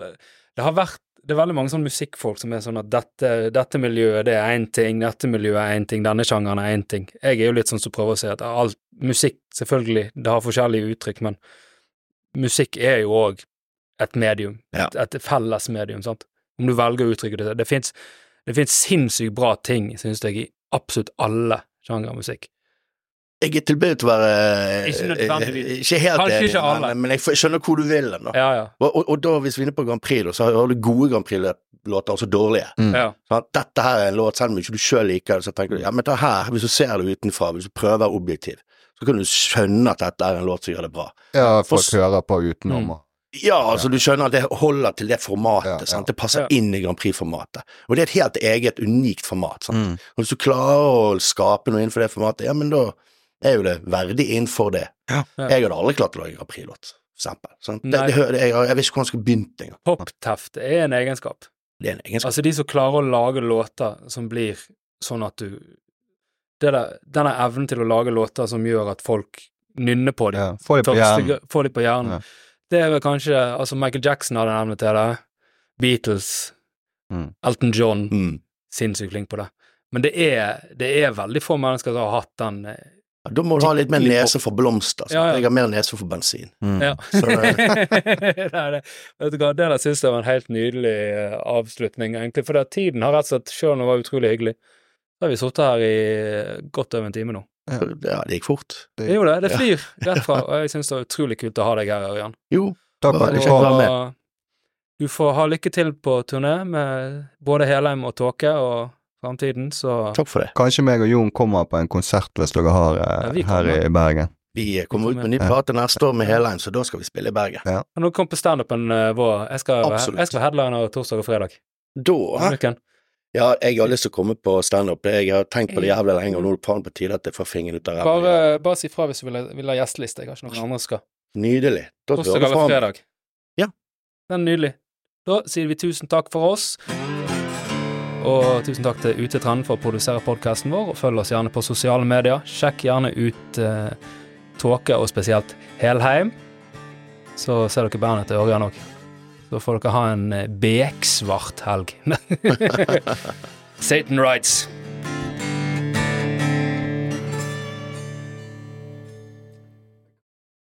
A: det har vært det er veldig mange sånne musikkfolk som er sånn at dette, dette miljøet det er én ting, dette miljøet er én ting, denne sjangeren er én ting. Jeg er jo litt sånn som prøver å si at alt Musikk, selvfølgelig, det har forskjellige uttrykk, men musikk er jo òg et medium.
C: Ja.
A: Et, et felles medium, sant. Om du velger å uttrykke det. Det fins det finnes sinnssykt bra ting, synes jeg, i absolutt alle sjanger musikk.
C: Jeg er tilbudt til å være eh,
A: Ikke nødvendigvis.
C: Ikke helt
A: Kanskje ikke
C: enig,
A: alle.
C: men, men jeg f- skjønner hvor du vil hen. da.
A: Ja, ja.
C: Og, og, og da, hvis vi er inne på Grand Prix, da, så har du gode Grand Prix-låter, og så dårlige.
B: Mm.
A: ja.
C: Sant? Dette her er en låt, selv om ikke du sjøl liker det, så tenker du ja, men det her, hvis du ser det utenfra, hvis du prøver å være objektiv, så kan du skjønne at dette er en låt som gjør det bra.
B: Ja, folk
C: Forst-
B: hører på utenom.
A: Mm.
B: og-
C: Ja, altså du skjønner at det holder til det formatet.
B: Ja, ja.
C: Sant? Det passer
A: Ja.
C: inn i Grand Prix-formatet. Og det er et helt eget, unikt format.
B: Mm.
C: Sant? Og hvis du klarer å skape noe innenfor det formatet, ja, men da er jo det verdig innenfor det.
B: Ja.
A: Ja.
C: Jeg hadde aldri klart å lage en Grand Prix-låt, for eksempel. sant? Det,
A: Nei.
C: det, hø- jeg, jeg visste ikke hvordan jeg skulle begynt engang.
A: Popteft er en egenskap.
C: Det er en egenskap.
A: Altså, de som klarer å lage låter som blir sånn at du det der, Denne evnen til å lage låter som gjør at folk nynner på dem,
B: Ja, Få det på
A: første
B: hjernen.
A: gang- får de på hjernen.
B: Ja.
A: Det er vel kanskje Altså, Michael Jackson hadde en evne til det. Beatles.
B: Mm.
A: Elton John.
C: Mm.
A: Sinnssykt flink på det. Men det er, det er veldig få mennesker som har hatt den eh,
C: Ja, Da må du ha litt mer
A: Skikkelig
C: nese for blomster. sant?
A: Ja, ja.
C: Jeg har mer nese for bensin.
B: Mm.
A: Ja.
C: Så, eh,
A: det er det. Vet du hva, det der synes jeg var en helt nydelig eh, avslutning, egentlig. For det at tiden har rett og slett, selv om det var utrolig hyggelig, da har vi sittet her i eh, godt over en time nå.
C: ja, det gikk fort.
A: Det gjorde det. Det flyr rett fra. Og jeg synes det var utrolig kult å ha deg her, Ørjan.
C: Jo,
B: Takk for
C: Bare
B: at du
C: kjekt å
B: kom.
C: være med.
A: Og Du får ha lykke til på turné med både Helheim og Tåke og framtiden, så
C: takk for det.
B: Kanskje meg og Jon kommer på en konsert hvis dere har eh,
A: Ja, vi
B: her
A: kommer.
B: i Bergen.
C: Vi eh, kommer ut med en ny plate neste år med Helheim, så da skal vi spille i Bergen.
A: Kan du komme på standupen eh, vår? Jeg skal,
C: Absolutt.
A: jeg skal headline torsdag og fredag.
C: Da
A: Denne uken.
C: Ja, jeg har lyst til å komme på standup. Jeg har tenkt på det jævlig lenge, og nå er det faen på tide at jeg får fingeren ut av
A: Bare,
C: ræva.
A: bare si fra hvis du vil, vil ha gjesteliste. Jeg har ikke noen andre som skal.
C: Nydelig. Da hører
A: Torsdag
C: du
A: eller
C: fra meg.
A: fredag.
C: Ja.
A: Den er nydelig. Da sier vi tusen takk for oss. Og tusen takk til Utetrenden for å produsere podkasten vår, og følg oss gjerne på sosiale medier. Sjekk gjerne ut eh, Tåke, og spesielt Helheim. Så ser dere bandet til Ørjan òg. Så får dere ha en eh, beksvart helg. Satan rights.